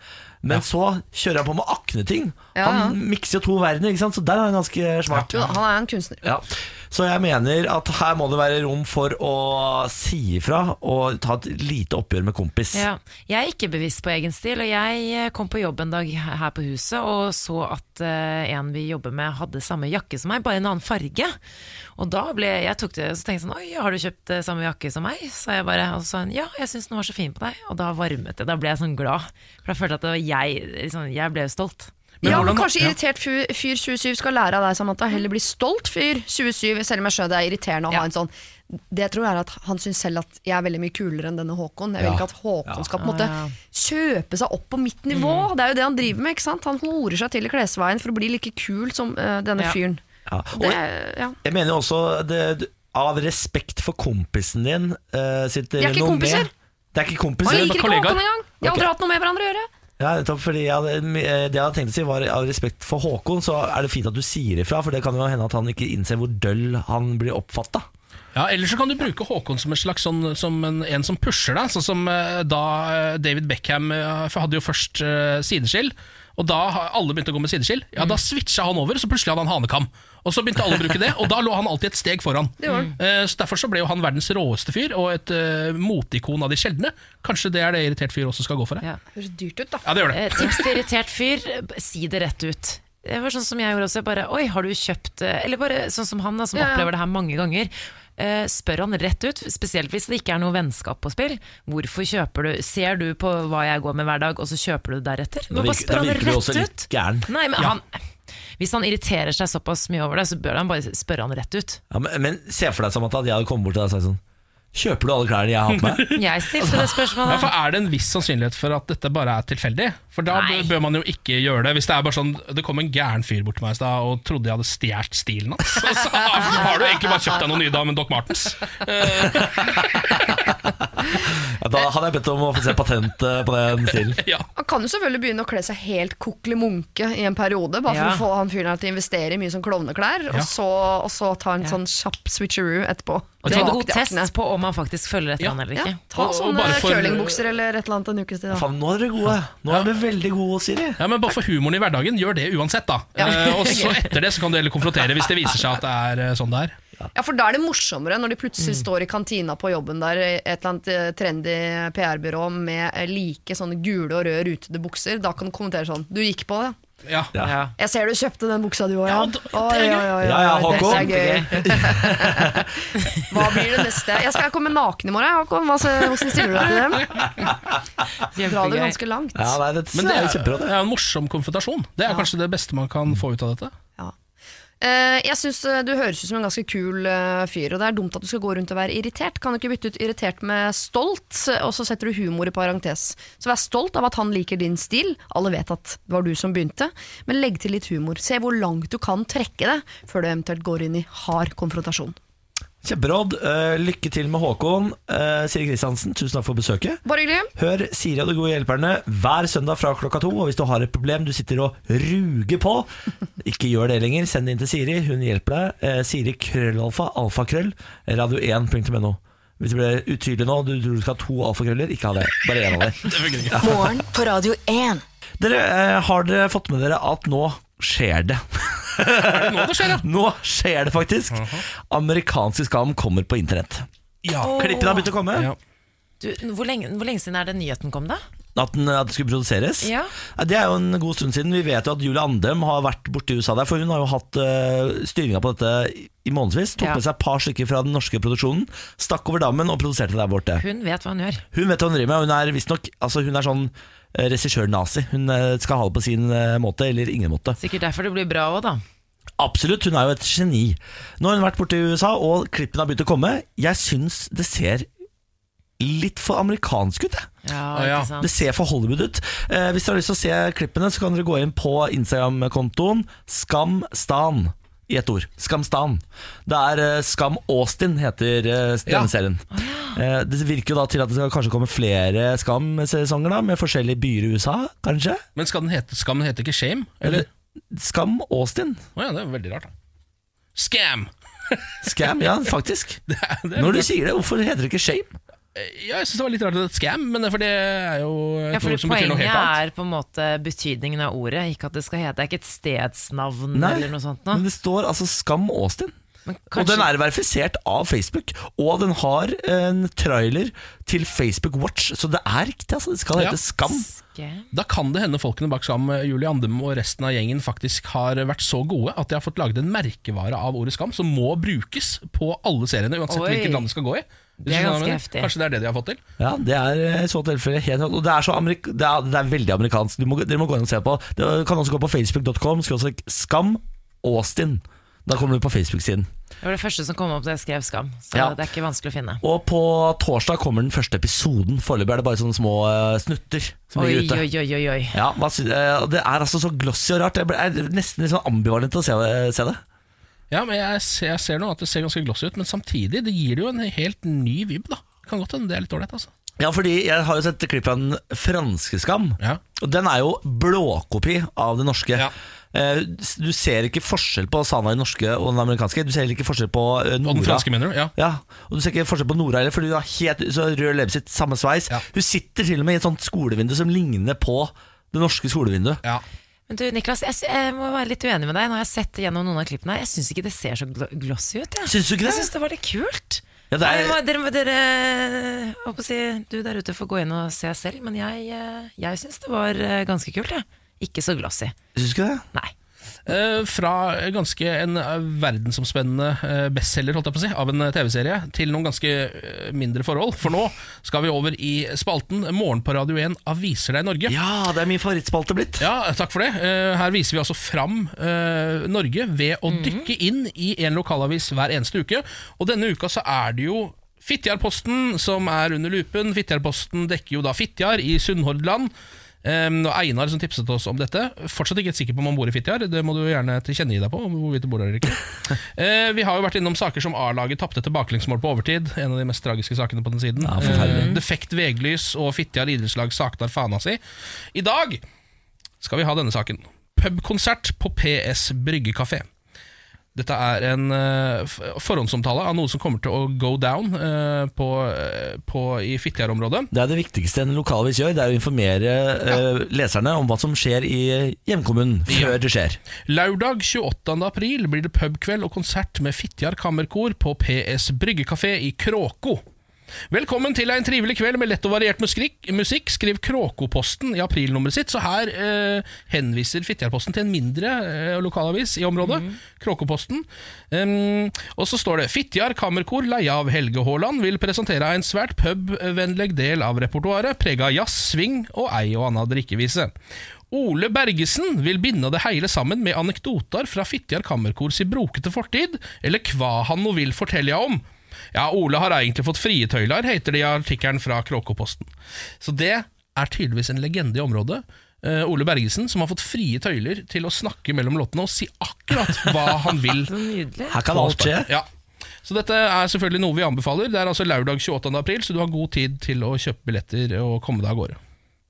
Men så kjører han på med akneting.
Ja, ja.
Han mikser jo to verdener, ikke sant? så der er han ganske smart.
Jo da, han er en kunstner.
Ja. Så jeg mener at her må det være rom for å si ifra og ta et lite oppgjør med kompis.
Ja. Jeg er ikke bevisst på egen stil, og jeg eh, kom på jobb en dag her på huset og så at eh, en vi jobber med hadde samme jakke som meg, bare en annen farge. Og da ble jeg tok det, så tenkte jeg sånn Oi, har du kjøpt eh, samme jakke som meg? Så jeg bare, og så sa hun ja, jeg syns den var så fin på deg. Og da varmet det. Da ble jeg sånn glad. For da følte jeg at det var jeg liksom, Jeg ble stolt.
ja, men
hvordan-
Kanskje irritert fyr, fyr 27 skal lære av deg, Samantha. Heller bli stolt fyr 27, selv om jeg skjønner det er irriterende å
Ja.
ha en sånn. Det jeg tror jeg er at Han syns selv at jeg er veldig mye kulere enn denne Håkon. Jeg vil
Ja.
ikke at Håkon skal på en måte kjøpe seg opp på mitt nivå. Det er jo det han driver med. ikke sant? Han horer seg til i klesveien for å bli like kul som eh, denne
Ja.
fyren.
Ja. Og
Det, ja.
jeg mener jo også det, det- av respekt for kompisen din eh, sitt
er ikke
renommé-
kompiser.
Det er ikke
Han
kompiser.
liker ikke
kollegaer.
Håkon engang! De har aldri hatt noe med hverandre å gjøre.
Ja, nettopp, fordi jeg hadde, eh, det jeg hadde tenkt å si var Av respekt for Håkon så er det fint at du sier ifra, for det kan jo hende at han ikke innser hvor døll han blir oppfatta.
Ja, Eller så kan du bruke Håkon som en slags sånn, som en, en som pusher deg. Sånn som eh, da eh, David Beckham eh, for hadde jo først eh, sideskill. Og da ha- alle begynte å gå med sideskill. Ja, Da switcha han over, så plutselig hadde han hanekam. Og så begynte alle å bruke det, og da lå han alltid et steg foran. Eh, Så Derfor så ble jo han verdens råeste fyr, og et eh, moteikon av de sjeldne. Kanskje det er det irritert fyr også skal gå for?
Ja.
Ja,
Høres dyrt ut, da.
ja det gjør det.
Eh, Tips til irritert fyr, b- si det rett ut. Det var sånn som jeg gjorde også. jeg Bare, Oi, har du kjøpt eh», Eller bare sånn som han, da, som
Ja, ja.
opplever det her mange ganger. Eh, spør han rett ut, spesielt hvis det ikke er noe vennskap på spill. Hvorfor kjøper du Ser du på hva jeg går med hver dag, og så kjøper du det deretter?
Da
Men bare
virker- da
spør han
virker du også
rett
litt
ut!
gæren.
Nei, men han hvis han irriterer seg såpass mye over det, så bør han bare spørre han rett ut.
Ja, men, men se for deg Samantha, at jeg hadde kommet bort til deg og sagt sånn Kjøper du alle klærne jeg har på meg?
Jeg stilte det
Ja,
spørsmålet.
for Er det en viss sannsynlighet for at dette bare er tilfeldig? For da
Nei.
bør- bør man jo ikke gjøre det. Hvis det er bare sånn Det kom en gæren fyr bort til meg i stad og trodde jeg hadde stjålet stilen hans. Og så har du egentlig bare kjøpt deg noen nye damer enn Doc Martens.
Ja, da hadde jeg bedt om å få se patent eh, på den stilen.
Ja.
Han kan jo selvfølgelig begynne å kle seg helt kokle munke i en periode, bare for
Ja.
å få han fyren her til å investere i mye sånn klovneklær, og, så, og så ta en sånn kjapp switcheroo etterpå.
Og det er en god
Tilbake til
test
Akne.
på om han faktisk følger etter
Ja.
han eller
Ja,
ikke.
ta
Og- og
sånne
bare for-
curlingbukser eller et eller annet en ukes tid. da.
Faen, nå er dere gode. Nå er dere veldig gode, Siri.
ja, Men bare for humoren i hverdagen, gjør det uansett, da.
Ja.
Eh, og så etter det så kan du heller konfrontere hvis det viser seg at det er eh, sånn det er.
Ja, for da er det morsommere når de
Mm.
plutselig står i kantina på jobben der, i et eller annet eh, trendy PR-byrå med eh, like sånne gule og røde rutede bukser. Da kan du kommentere sånn Du gikk på det.
Ja.
Ja.
Ja.
Jeg ser du kjøpte den buksa du òg,
Ja,
ja.
det- det er
Oi,
gøy.
oi, oi,
Ja, ja,
oi, dette
Håkon.
er gøy. Hva blir det neste? Jeg skal komme naken i morgen, jeg, Håkon. Hva, hvordan stiller du deg til dem? Dra det
Kjempegøy.
ganske langt.
Ja, nei, det,
Men det er,
jo kjempebra,
det
det.
er en morsom konfrontasjon. Det er kanskje det beste man kan få ut av dette.
Ja. Eh, Jeg synes eh, Du høres ut som en ganske kul eh, fyr, og det er dumt at du skal gå rundt og være irritert. Kan du ikke bytte ut irritert med stolt, og så setter du humor i parentes? Så vær stolt av at han liker din stil. Alle vet at det var du som begynte, men legg til litt humor. Se hvor langt du kan trekke det før du eventuelt går inn i hard konfrontasjon.
Kjemperåd. Eh, lykke til med Håkon. Eh, Siri Kristiansen, tusen takk for besøket.
Bare hyggelig.
Hør Siri og de gode hjelperne hver søndag fra klokka to. Og hvis du har et problem du sitter og ruger på, ikke gjør det lenger. Send det inn til Siri. Hun hjelper deg. Eh, Siri krøllalfa, alfakrøll, radio1.no. Hvis det ble utydelig nå, du tror du skal ha to alfakrøller, ikke ha det. Bare én av dem.
Morgen på Radio 1.
Dere, eh, har dere fått med dere at nå skjer det?
Er det nå det skjer, ja? Mhm.
Nå skjer det faktisk. Amerikansk skam kommer på internett.
Ja.
Klippene har begynt å komme.
Ja.
Du, hvor, lenge, hvor lenge siden er det nyheten kom, da?
At, den, at det skulle produseres?
Ja.
Det er jo en god stund siden. Vi vet jo at Julie Andem har vært borte i USA der, for hun har jo hatt uh, styringa på dette i- i månedsvis. Tok
Ja.
med seg et par stykker fra den norske produksjonen, stakk over dammen og produserte der borte.
Hun vet hva hun gjør.
Hun vet hva hun driver med, og hun er visstnok altså hun er sånn eh, regissør-nazi. Hun eh, skal ha det på sin eh, måte, eller ingen måte.
Sikkert derfor det blir bra òg, da.
Absolutt, hun er jo et geni. Nå har hun vært borte i USA, og klippene har begynt å komme. Jeg syns det ser litt for amerikansk ut, jeg.
Ja,
Å, ja.
ikke
Det
sant?
ser for Hollywood ut. Eh, hvis dere har lyst til å se klippene, så kan dere gå inn på Instagram-kontoen Skamstan. I ett ord. Skamstan. Det er eh, Skam Austin, heter eh, denne
Ja.
serien. Eh, det virker jo da til at det skal kanskje komme flere Skam-sesonger, da, med forskjellige byer i USA, kanskje?
Men skal den hete, skal den hete ikke Shame? Eller?
Skam Austin.
Å ja, det er veldig rart, da. Scam!
Scam, ja, faktisk.
Det er, det er
Når du sier det, hvorfor heter det ikke Shame?
Ja, jeg syns det var litt rart at det er scam, men det er for det er jo
Ja, for
noe som betyr noe
Poenget
helt annet.
er på en måte betydningen av ordet, ikke at det skal hete Det er ikke et stedsnavn
Nei,
eller noe sånt.
men
Nå.
det står altså Skam Austin.
Men
Og den
kanskje,
er verifisert av Facebook, og den har en trailer til Facebook Watch, så det er riktig, altså. Det skal
Ja.
hete Skam.
Skam.
Da kan det hende folkene bak Skam, eh, Julie Andem og resten av gjengen, faktisk har vært så gode at de har fått laget en merkevare av ordet skam som må brukes på alle seriene, uansett
Oi.
hvilket land det skal gå i. Hvis
Det
du
er
skjønner hva jeg
ganske
mener.
heftig.
Kanskje det er det de har fått til?
Ja, det er eh, i så tilfelle helt Og det er, så amerik det er, det er veldig amerikansk. Du må, dere må gå inn og se på. Du kan også gå på facebook.com skråstrek Skam Austin. Da kommer du på Facebook-siden.
Det var det første som kom opp da jeg skrev Skam, så
Ja.
det er ikke vanskelig å finne.
Og på torsdag kommer den første episoden. Foreløpig er det bare sånne små eh, snutter som
Oi,
ligger ute.
oi, oi, oi, oi.
Ja, hva sy- eh, og Det er altså så glossy og rart. Jeg ble- jeg er nesten litt sånn ambivalent til å se, se det.
Ja, men jeg ser, jeg ser nå at det ser ganske glossy ut, men samtidig, det gir det jo en helt ny vibb, da. Kan godt hende det er litt ålreit, altså.
Ja, fordi jeg har jo sett klipp av den franske skam.
Ja.
Og den er jo blåkopi av den norske.
Ja.
Eh, Du ser ikke forskjell på Sana i den norske og den amerikanske. Du ser heller ikke forskjell på eh,
Og
Nora.
den franske, mener du? Ja.
Ja, og du ser ikke forskjell på Nora heller, for hun har helt så rød leppestift, samme sveis.
Ja.
Hun sitter til og med i et sånt skolevindu som ligner på det norske skolevinduet.
ja.
Men du, Niklas, jeg, sy- jeg må være litt uenig med deg. Nå har jeg sett gjennom noen av klippene her. Jeg syns ikke det ser så gl glossy ut. Jeg,
Syns du ikke
jeg
det?
syns det var litt kult.
Ja, det er-
Nei, men dere, må- dere jeg håper å si, Du der ute får gå inn og se selv, men jeg, eh, jeg syns det var eh, ganske kult. Jeg. Ikke så glossy.
Syns du ikke det?
Nei.
Eh, fra ganske en eh, verdensomspennende eh, bestselger holdt jeg på å si, av en eh, TV-serie, til noen ganske eh, mindre forhold. For nå skal vi over i spalten Morgen på Radio 1 aviser deg Norge.
Ja, det er min favorittspalte blitt.
Ja, takk for det. Eh, Her viser vi altså fram eh, Norge ved
Mhm.
å dykke inn i en lokalavis hver eneste uke. Og denne uka så er det jo Fitjarposten som er under lupen. Fitjarposten dekker jo da Fitjar i Sunnhordland. Um, og Einar som tipset oss om dette. Fortsatt ikke helt sikker på om han bor i Fitjar. Det må du gjerne tilkjennegi deg på. om hvorvidt du bor der eller ikke Eh, Vi har jo vært innom saker som A-laget tapte til baklengsmål på overtid. En av de mest tragiske sakene på den siden.
Ja, forferdelig.
Eh, defekt veglys og Fitjar idrettslag saknar fana si. I dag skal vi ha denne saken. Pubkonsert på PS Bryggekafé. Dette er en eh, f- forhåndsomtale av noe som kommer til å go down eh, på, eh, på, i Fitjar-området.
Det er det viktigste en lokalavis gjør, det er å informere eh, leserne om hva som skjer i hjemkommunen før det skjer.
Lørdag 28. april blir det pubkveld og konsert med Fitjar Kammerkor på PS Bryggekafé i Kråko. Velkommen til en trivelig kveld med lett og variert musikk. musikk. Skriv Kråkoposten i aprilnummeret sitt. Så her eh, henviser Fitjarposten til en mindre eh, lokalavis i området. Kråkoposten. Em, og så står det Fitjar Kammerkor, leie av Helge Haaland, vil presentere en svært pubvennlig del av repertoaret, prega jazz, sving og ei og anna drikkevise. Ole Bergesen vil binde det hele sammen med anekdoter fra Fitjar Kammerkor si brokete fortid, eller hva han nå vil fortelle jeg om. Ja, Ole har egentlig fått frie tøyler, heter det i artikkelen fra Kråkeposten. Så det er tydeligvis en legende i området. Eh, Ole Bergesen, som har fått frie tøyler til å snakke mellom låtene og si akkurat hva han vil.
Nydelig.
Her kan alt skje.
Ja. Så dette er selvfølgelig noe vi anbefaler. Det er altså lørdag 28. april, så du har god tid til å kjøpe billetter og komme deg av gårde.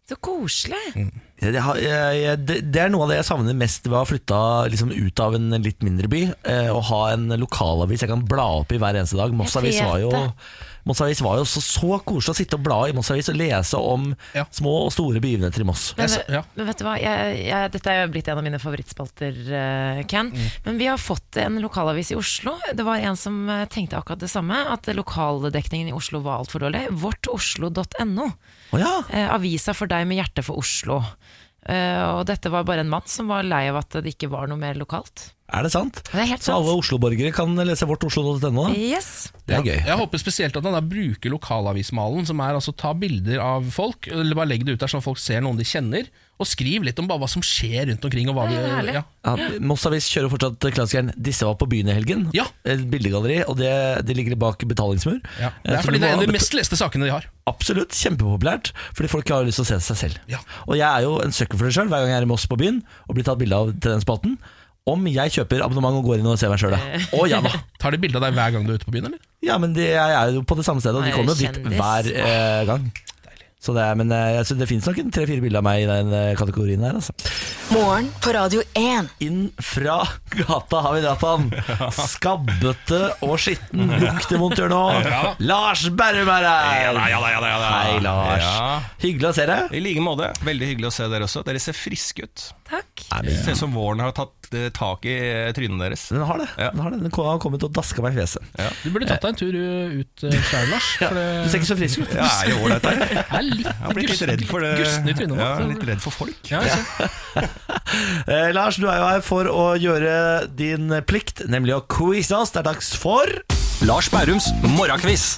Så koselig.
Mm. Jeg har- jeg- jeg- Det det er noe av det jeg savner mest ved å ha flytta liksom ut av en litt mindre by. eh, Og ha en lokalavis jeg kan bla opp i hver eneste dag. Mossavis
vet
var jo,
det.
Mossavis var jo så, så koselig å sitte og bla i Mossavis og lese om
Ja.
små og store begivenheter i Moss.
Men,
Jeg sa- ja.
men vet du hva, jeg, jeg, dette er jo blitt en av mine favorittspalter, eh, Ken.
Mm.
Men vi har fått en lokalavis i Oslo. Det var en som eh, tenkte akkurat det samme, at lokaldekningen i Oslo var altfor dårlig. Vårtoslo.no.
Å ja!
Eh, avisa for deg med hjerte for Oslo. Eh, og dette var bare en mann som var lei av at det ikke var noe mer lokalt.
Er det sant?
Det er helt
Så alle Oslo-borgere kan lese vårt oslo.no?
Yes.
Det er
Ja.
gøy.
Jeg håper spesielt at han da bruker lokalavismalen, som er altså ta bilder av folk, eller bare legg det ut der sånn at folk ser noen de kjenner, og skriv litt om bare hva som skjer rundt omkring. Og hva
Det er herlig.
vi, ja.
Ja, Mossavis kjører fortsatt klassikeren 'Disse var på byen i helgen'.
Ja.
Et bildegalleri, og det, det ligger bak betalingsmur.
Ja. Det
Eh,
er
så
fordi
du må
det er en av
bet-
de mest leste sakene de har.
Absolutt, kjempepopulært, fordi folk har lyst til å se seg selv.
Ja.
Og jeg er jo en søkker for det sjøl, hver gang jeg er i Moss på byen og blir tatt bilde av til den spalten. Om jeg kjøper abonnement og går inn og ser meg sjøl, ja.
Eh.
Å ja da.
Tar de bilde av deg hver gang du er ute på byen, eller?
Ja, men de, jeg er jo på det samme stedet, og de
Nei,
kommer jo dit
kjendis.
hver eh, gang. Så det, er, men eh, jeg synes det fins nok en tre-fire bilder av meg i den eh, kategorien her, altså.
Morgen på Radio 1.
Inn fra gata har vi dratt han. Skabbete og skitten. Lukter vondt, gjør nå. Lars Berrum er her!
Ja da, ja da, ja da, ja da.
Hei, Lars.
Ja.
Hyggelig å se deg.
I like måte. Veldig hyggelig å se dere også. Dere ser friske ut.
Takk.
Det ser ut som våren har tatt eh, tak i eh, trynet deres.
Den har det.
Ja.
Den har det. Den kom- har kommet og daska meg i fjeset.
Du burde tatt deg en tur uh, ut uh, sjøl, Lars.
Ja,
For
du ser ikke så frisk ut.
Ja, er det ålreit her?
det er litt,
Jeg har blitt litt
gusten-
redd for det.
gusten i trynet nå.
Ja,
så-
litt redd for folk.
Ja, jeg ser.
Eh, Lars, du er jo her for å gjøre din plikt, nemlig å quize oss. Det er dags for
Lars Bærums morgenkviss.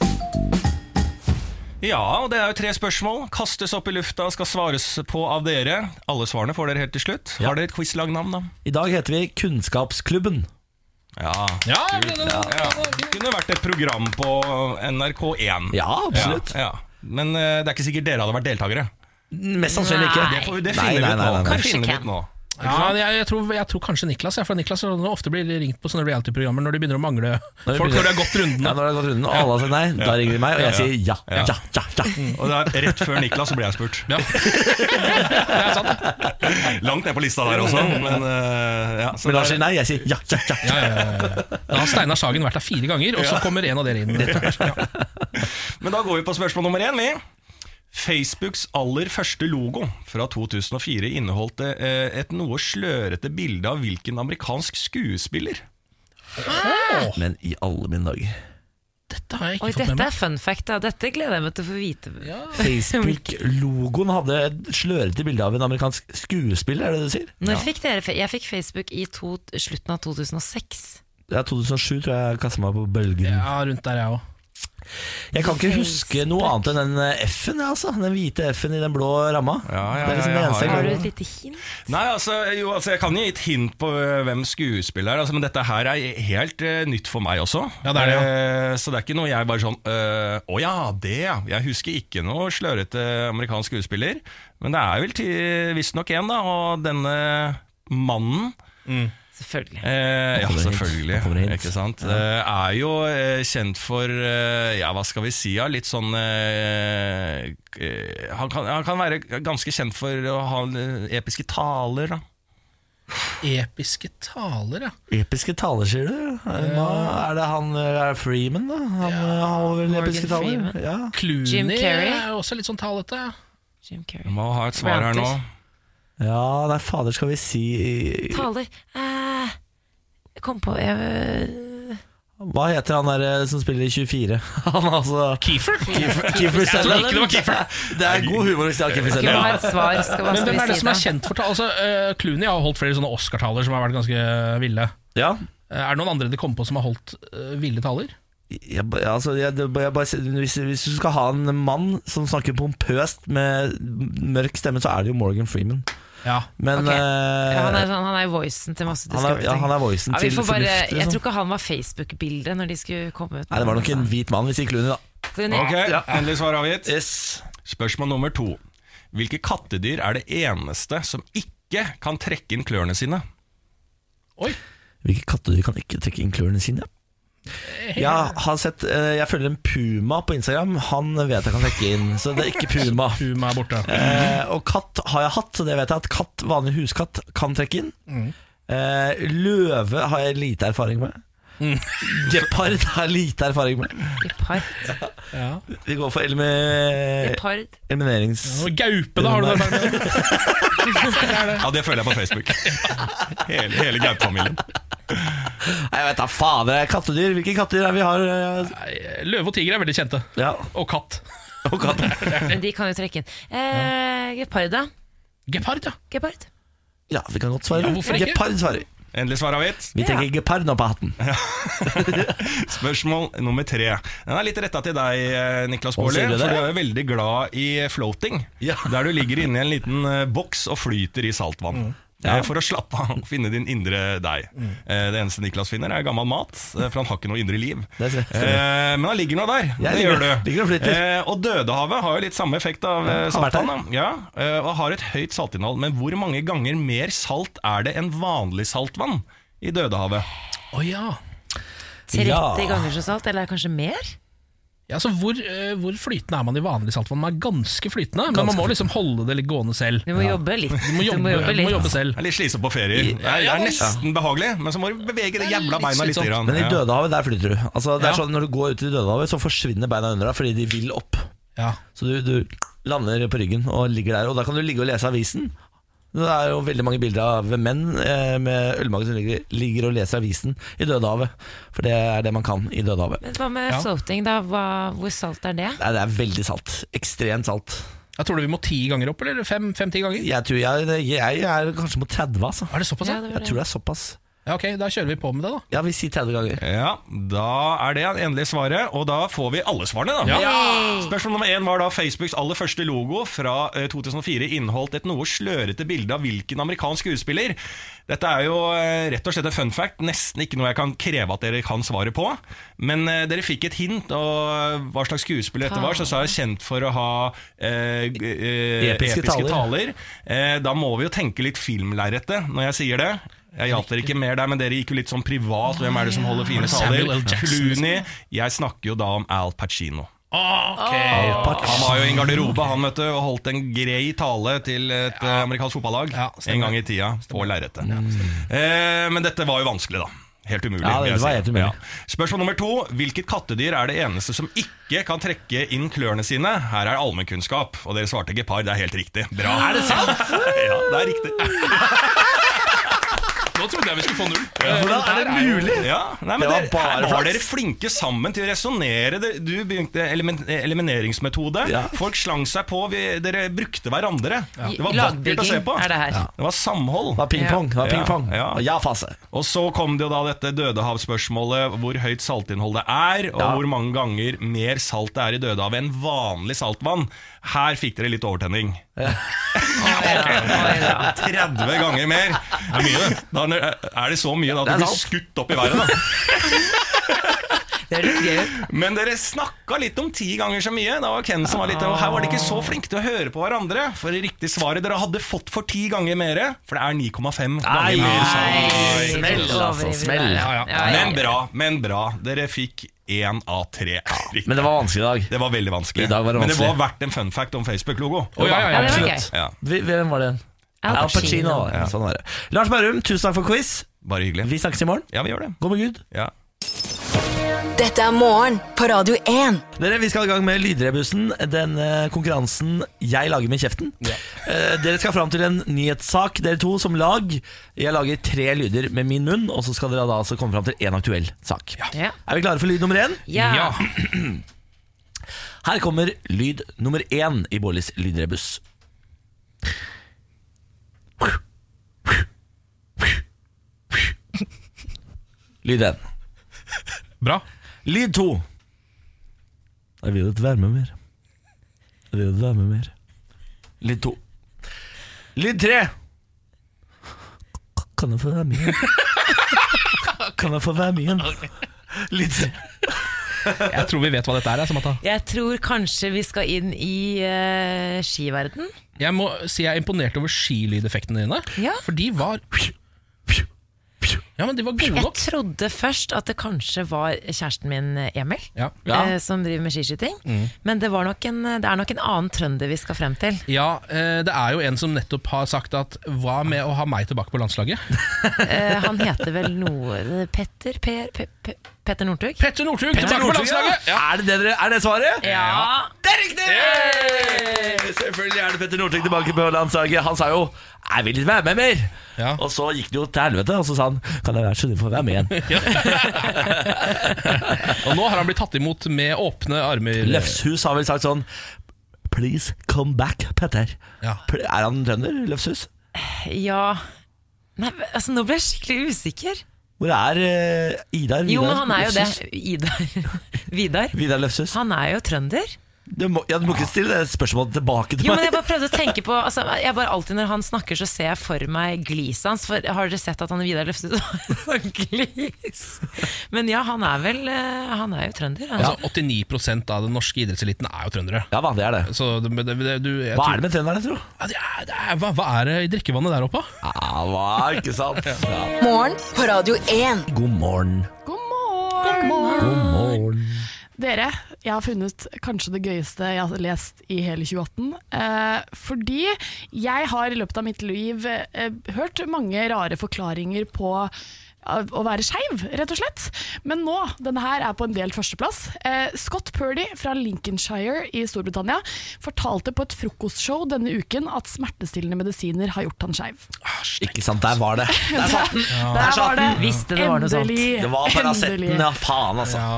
Ja, og det er jo tre spørsmål. Kastes opp i lufta, skal svares på av dere. Alle svarene får dere helt til slutt. Har dere et quizlagnavn, da?
I dag heter vi Kunnskapsklubben.
Ja.
ja, det, det, det.
ja. Det kunne vært et program på NRK1.
Ja, absolutt.
Ja, ja. Men eh, det er ikke sikkert dere hadde vært deltakere.
Mest sannsynlig ikke.
Det, får, vi- det
Nei,
finner vi
nei, nei,
ut nå.
nei, nei.
Det finner vi ut nå.
Ja, jeg, jeg, tror, jeg tror kanskje Niklas. Ja, for Niklas har ofte blir ringt på sånne reality-programmer når de begynner å mangle
de
folk
begynner-
når de har gått
Ja,
rundene.
når det har gått runden, og alle har sagt nei, da ringer de meg, og jeg sier ja, ja, ja. ja,
Mm, Og det er rett før Niklas så ble jeg spurt.
Ja. Det er sant. det.
Langt ned på lista der også, men eh, ja. Så
Men Lars
det
sier nei, jeg sier ja, ja, ja.
Ja, ja, ja, ja. Eh, Da har Steinar Sagen vært der fire ganger, og så kommer en av dere inn.
er- Men da går vi på spørsmål nummer én, vi. Facebooks aller første logo fra 2004 inneholdt eh, et noe slørete bilde av hvilken amerikansk skuespiller?
Men i alle mine dager.
Dette har jeg ikke
Oi,
fått med
dette
meg.
er fun fact. Da. Dette gleder jeg meg til å få vite.
Facebook-logoen hadde et slørete bilde av en amerikansk skuespiller, er det det du sier?
Når fikk dere fe- Jeg fikk Facebook i to, slutten av 2006.
Det er 2007, tror jeg jeg kastet meg på bølgen.
Ja, rundt der jeg òg.
Jeg kan ikke huske noe annet enn den F-en, ja, altså. Den hvite F-en i den blå ramma.
Ja, ja,
det er liksom
ja,
det
jeg
eneste
har-
jeg
Har du
klarer.
et lite hint?
Nei, altså, jo, altså Jeg kan gi et hint på øh, hvem skuespiller er, altså, men dette her er helt øh, nytt for meg også.
Ja, det er det,
Eh, så det er ikke noe jeg bare sånn øh, Å ja, det ja. Jeg husker ikke noe slørete amerikansk skuespiller. Men det er vel ti- visstnok én, da. Og denne mannen
Selvfølgelig.
eh, Ja,
kommer hint.
selvfølgelig.
Nå kommer det hint.
Ikke sant? Eh, er jo eh, kjent for eh, Ja, hva skal vi si, ja, litt sånn eh, eh, han, kan, han kan være ganske kjent for å ha eh, episke taler, da.
Episke taler, ja.
Episke taler, sier du? Hva er det han er det Freeman, da? Han eh, har vel
Morgan
episke taler?
Freeman.
Ja.
Clooney
Jim Carrey.
er jo også litt sånn talete.
Jim
Jeg
Carrey.
må ha et svar her nå.
ja, nei, fader, skal vi si
Taler eh, Jeg eh, kom på jeg,
Hva heter han der eh, som spiller i 24? Han er altså
Keefer?
Keeper
Jeg tror ikke det var
Sutherland.
Keeper.
Det er god humor hvis de har Keeper
Skulle
Sutherland.
ha et svar. Skal, hva
Men
skal
hvem er det
vi si
som
da?
er kjent for ta- Altså, eh, Clooney har holdt flere sånne Oscar-taler som har vært ganske ville.
Ja.
Eh, Er det noen andre dere kommer på som har holdt eh, ville taler?
Jeg, ba- altså, jeg, det- jeg bare, sier- hvis, hvis du skal ha en mann som snakker pompøst med mørk stemme, så er det jo Morgan Freeman.
Ja.
Men
Ok.
eh,
Ja, han, er, sånn- han er voicen til masse
han er-
Discovery.
ja, han er voicen
vi
til
får bare,
fornuft, liksom.
Jeg tror ikke han var Facebook-bildet når de skulle komme ut.
Nei, det var nok en hvit mann, hvis ikke Clooney, da.
Clooney.
Ok, Endelig svar avgitt.
Yes.
Spørsmål nummer to. Hvilke kattedyr er det eneste som ikke kan trekke inn klørne sine?
Oi,
Hvilke kattedyr kan ikke trekke inn klørne sine? Jeg har sett eh, Jeg følger en puma på Instagram. Han vet jeg kan trekke inn, så det er ikke puma.
Puma er borte.
Eh, og katt har jeg hatt, så det vet jeg at katt, vanlig huskatt kan trekke inn.
Mm.
Eh, løve har jeg lite erfaring med.
Mm.
Gepard har jeg lite erfaring med.
Gepard.
Vi går for elimi
Gepard.
eliminerings...
Og Gaupe, da har du det. der.
Ja, Det føler jeg på Facebook. Hele, hele gaupefamilien.
Nei, jeg vet da fader. Kattedyr. Hvilke kattedyr er vi har? eh,
Nei, Løve og tiger er veldig kjente.
Ja,
Og katt.
og katt.
Men de kan jo trekke inn. Eh, gepard, da?
Gepard, ja.
Gepard.
Ja, vi kan godt svare.
Ja, hvorfor ikke?
Gepard svarer vi.
Endelig svar avgitt.
Vi trekker gepard nå på hatten.
Spørsmål nummer tre. Den er litt retta til deg, eh, Niklas
Å,
Baarli.
sier du det?
For du er jo veldig glad i floating.
Ja.
Der du ligger inni en liten eh, boks og flyter i
Mm.
saltvann. Eh, For å slappe av og finne din indre deg. Eh, Det eneste Niklas finner, er gammel mat, eh, for han har ikke noe indre liv.
Det er-
Eh, Men han ligger nå der.
Jeg
det
ligger-
gjør du.
ligger og flyter.
Eh, Og Dødehavet har jo litt samme effekt av
har
eh,
vært
saltvann. da. Ja, eh, og har et høyt saltinnhold. Men hvor mange ganger mer salt er det enn vanlig saltvann i Dødehavet?
Å ja.
30
Ja.
ganger så salt, eller kanskje mer?
Ja, så hvor, eh, hvor flytende er man i vanlig saltvann? Man er ganske flytende, men man må liksom holde det litt gående selv.
Du må jobbe litt.
Du må jobbe, du må jobbe selv.
Det er litt slitsomt på ferie. Det er, det er nesten behagelig, men så må du bevege de jævla
litt
beina litt.
slitsomt.
Grann.
Men i
Ja.
Dødehavet, der flyter du. Altså, det er
Ja.
sånn, når du går ut i Dødehavet, så forsvinner beina under deg fordi de vil opp.
Ja.
Så du, du lander på ryggen og ligger der. Og da kan du ligge og lese avisen. Det er jo veldig mange bilder av menn eh, med ølmage som ligger, ligger og leser avisen i Dødehavet. For det er det man kan i Dødehavet.
Men hva med
Ja.
floating, da? Hva, hvor salt er det?
Nei, det er veldig salt. Ekstremt salt.
Jeg tror du vi må ti ganger opp, eller fem-ti ganger?
Jeg tror jeg, jeg er kanskje mot 30, altså.
Er det såpass?
Ja,
Ja,
det var
Jeg
det.
tror det er såpass.
ja, ok, da kjører vi på med det, da.
Ja, vi sier 30 ganger.
Ja, da er det endelig svaret, og da får vi alle svarene, da.
Ja.
Spørsmål nummer én var da Facebooks aller første logo fra eh, 2004 inneholdt et noe slørete bilde av hvilken amerikansk skuespiller. Dette er jo eh, rett og slett en fun fact, nesten ikke noe jeg kan kreve at dere kan svaret på. Men eh, dere fikk et hint, og eh, hva slags skuespiller dette var, så sa jeg kjent for å ha eh, g- eh,
Episke
episke,
taler.
taler. Eh, da må vi jo tenke litt filmlerretet når jeg sier det. Jeg hjalp dere ikke mer der, men dere gikk jo litt sånn privat. Hvem er det som holder
Var
fine
det Samuel
taler?
L. Jackson,
Clooney. Jeg snakker jo da om Al Pacino.
Ah, Ok.
Han var jo i en garderobe han vet du, og holdt en grei tale til et eh, amerikansk fotballag
Ja,
en
stemmer.
gang i tida på lerretet. eh, men dette var jo vanskelig, da. Helt umulig.
Ja,
vil jeg
det var
si.
helt umulig.
Spørsmål nummer to. Hvilket kattedyr er det eneste som ikke kan trekke inn klørne sine? Her er allmennkunnskap, og dere svarte gepard. Det er helt riktig. Bra. Er det sant? ja, det er riktig.
Nå trodde jeg vi skulle få null.
Hvordan er det mulig?
Ja, nei, men
Det var
dere,
bare
her var
flaks.
dere flinke sammen til å resonnere. Det- Du begynte elimin elimineringsmetode.
Ja.
Folk slang seg på. Vi, dere brukte hverandre. Det var vakkert å se
Lagbygging
på.
er det her.
Det var samhold.
Det var ping-pong. Det var ping-pong.
Ja, ja.
Og ja-fase.
Og så kom det jo da dette Dødehavsspørsmålet, hvor høyt saltinnholdet er, og
Ja.
hvor mange ganger mer salt det er i Dødehavet enn vanlig saltvann. Her fikk dere litt overtenning.
Oi, da.
30 ganger mer. Det er mye, det. Da er det så mye da at
Det er
du blir
sant.
skutt opp i været. da
Det er litt gøy.
Men dere snakka litt om ti ganger så mye. Da var Ken som var litt Og her var de ikke så flinke til å høre på hverandre. For det riktige svaret dere hadde fått for ti ganger mer, for det er 9,5 ganger mer.
Nei,
salt.
smell, altså. Smell.
Ja, ja.
Ja, ja.
Men bra, men bra. Dere fikk én av tre. Riktig.
Men det var vanskelig i dag.
Det var veldig vanskelig.
I dag var det
Men det
vanskelig.
var verdt en fun fact om Facebook-logo.
Å, ja, ja, ja.
Ja, det var gøy.
Ja,
Vi- Hvem var det igjen?
Al
Al Pacino.
Pacino.
Ja. Sånn var det. Lars Berrum, tusen takk for quiz.
bare hyggelig.
Vi snakkes i morgen.
Ja, vi gjør det.
Gå med Gud.
Ja.
Dette er morgen på Radio 1.
Dere, Vi skal i gang med Lydrebussen, den eh, konkurransen jeg lager med kjeften. Eh, dere skal fram til en nyhetssak, dere to som lag. Jeg lager tre lyder med min munn, og så skal dere da altså komme fram til én aktuell sak.
Ja.
Er vi klare for lyd nummer én?
Ja.
Her kommer lyd nummer én i Bårlis lydrebus. Lyd én.
Bra.
Lyd to. Jeg vil ikke være med mer. Jeg vil ikke være med mer. Lyd to. Lyd tre. Kan jeg få være med igjen? Kan jeg få være med igjen? Litt
Jeg tror vi vet hva dette er, jeg, Samantha.
Jeg tror kanskje vi skal inn i eh, skiverden.
Jeg må si jeg er imponert over skilydeffektene dine.
Ja.
For de var Ja, men de var gode
Jeg
nok.
trodde først at det kanskje var kjæresten min Emil
Ja.
eh, som driver med skiskyting, men det, var nok en, det er nok en annen trønder vi skal frem til.
Ja, eh, Det er jo en som nettopp har sagt at hva med å ha meg tilbake på landslaget?
Eh, han heter vel noe Petter per, Pe- Pe- Petter Northug?
Petter Northug tilbake på
Nordtug, ja.
landslaget!
Er det det dere- er det svaret?
Ja.
Det er riktig! Selvfølgelig er det Petter Northug tilbake på landslaget. Han sa jo 'jeg vil ikke være med mer'.
Ja.
Og så gikk det jo til helvete, og så sa han 'kan jeg være så snill å få være med igjen'?
Og nå har han blitt tatt imot med åpne armer.
Løfshus har vel sagt sånn 'please come back, Petter'.
Ja.
Pl- Er han trønder, Løfshus?
ja. Nei, altså, nå ble jeg skikkelig usikker.
Hvor er eh, Idar Vidar
Jo, men han er jo det.
Løfshus?
Idar. Vidar.
Vidar Løfshus.
Han er jo trønder.
Du må, ja, du må ikke stille det spørsmålet tilbake til
Jo, men
meg.
jeg bare prøvde å tenke på altså, jeg bare Alltid når han snakker, så ser jeg for meg gliset hans. For har dere sett at han Vidar løftet sånn glis? Men ja, han er vel eh, Han er jo trønder. Han.
Altså, 89 av den norske idrettseliten er jo trøndere.
Ja, hva, det er det.
Så det, det, det, du, jeg
Hva
tror-
er det med trønderne, tro?
Ja, det er, det er, hva, hva er det i drikkevannet der oppe?
Ja, hva, ikke sant? Ja.
Morgen på Radio 1.
God morgen.
God morgen.
God morgen.
Dere, jeg har funnet kanskje det gøyeste jeg har lest i hele 2018. Eh, fordi jeg har i løpet av mitt liv eh, hørt mange rare forklaringer på eh, å være skeiv, rett og slett. Men nå, denne her er på en delt førsteplass. Eh, Scott Purdy fra Lincolnshire i Storbritannia fortalte på et frokostshow denne uken at smertestillende medisiner har gjort han skeiv.
Ikke sant, der var det. Der var den. Der
Der
satt
var det.
den.
Ah. Visste det var noe sånt.
Endelig,
Det var Paraceten,
endelig.
ja. Faen, altså.
Ja.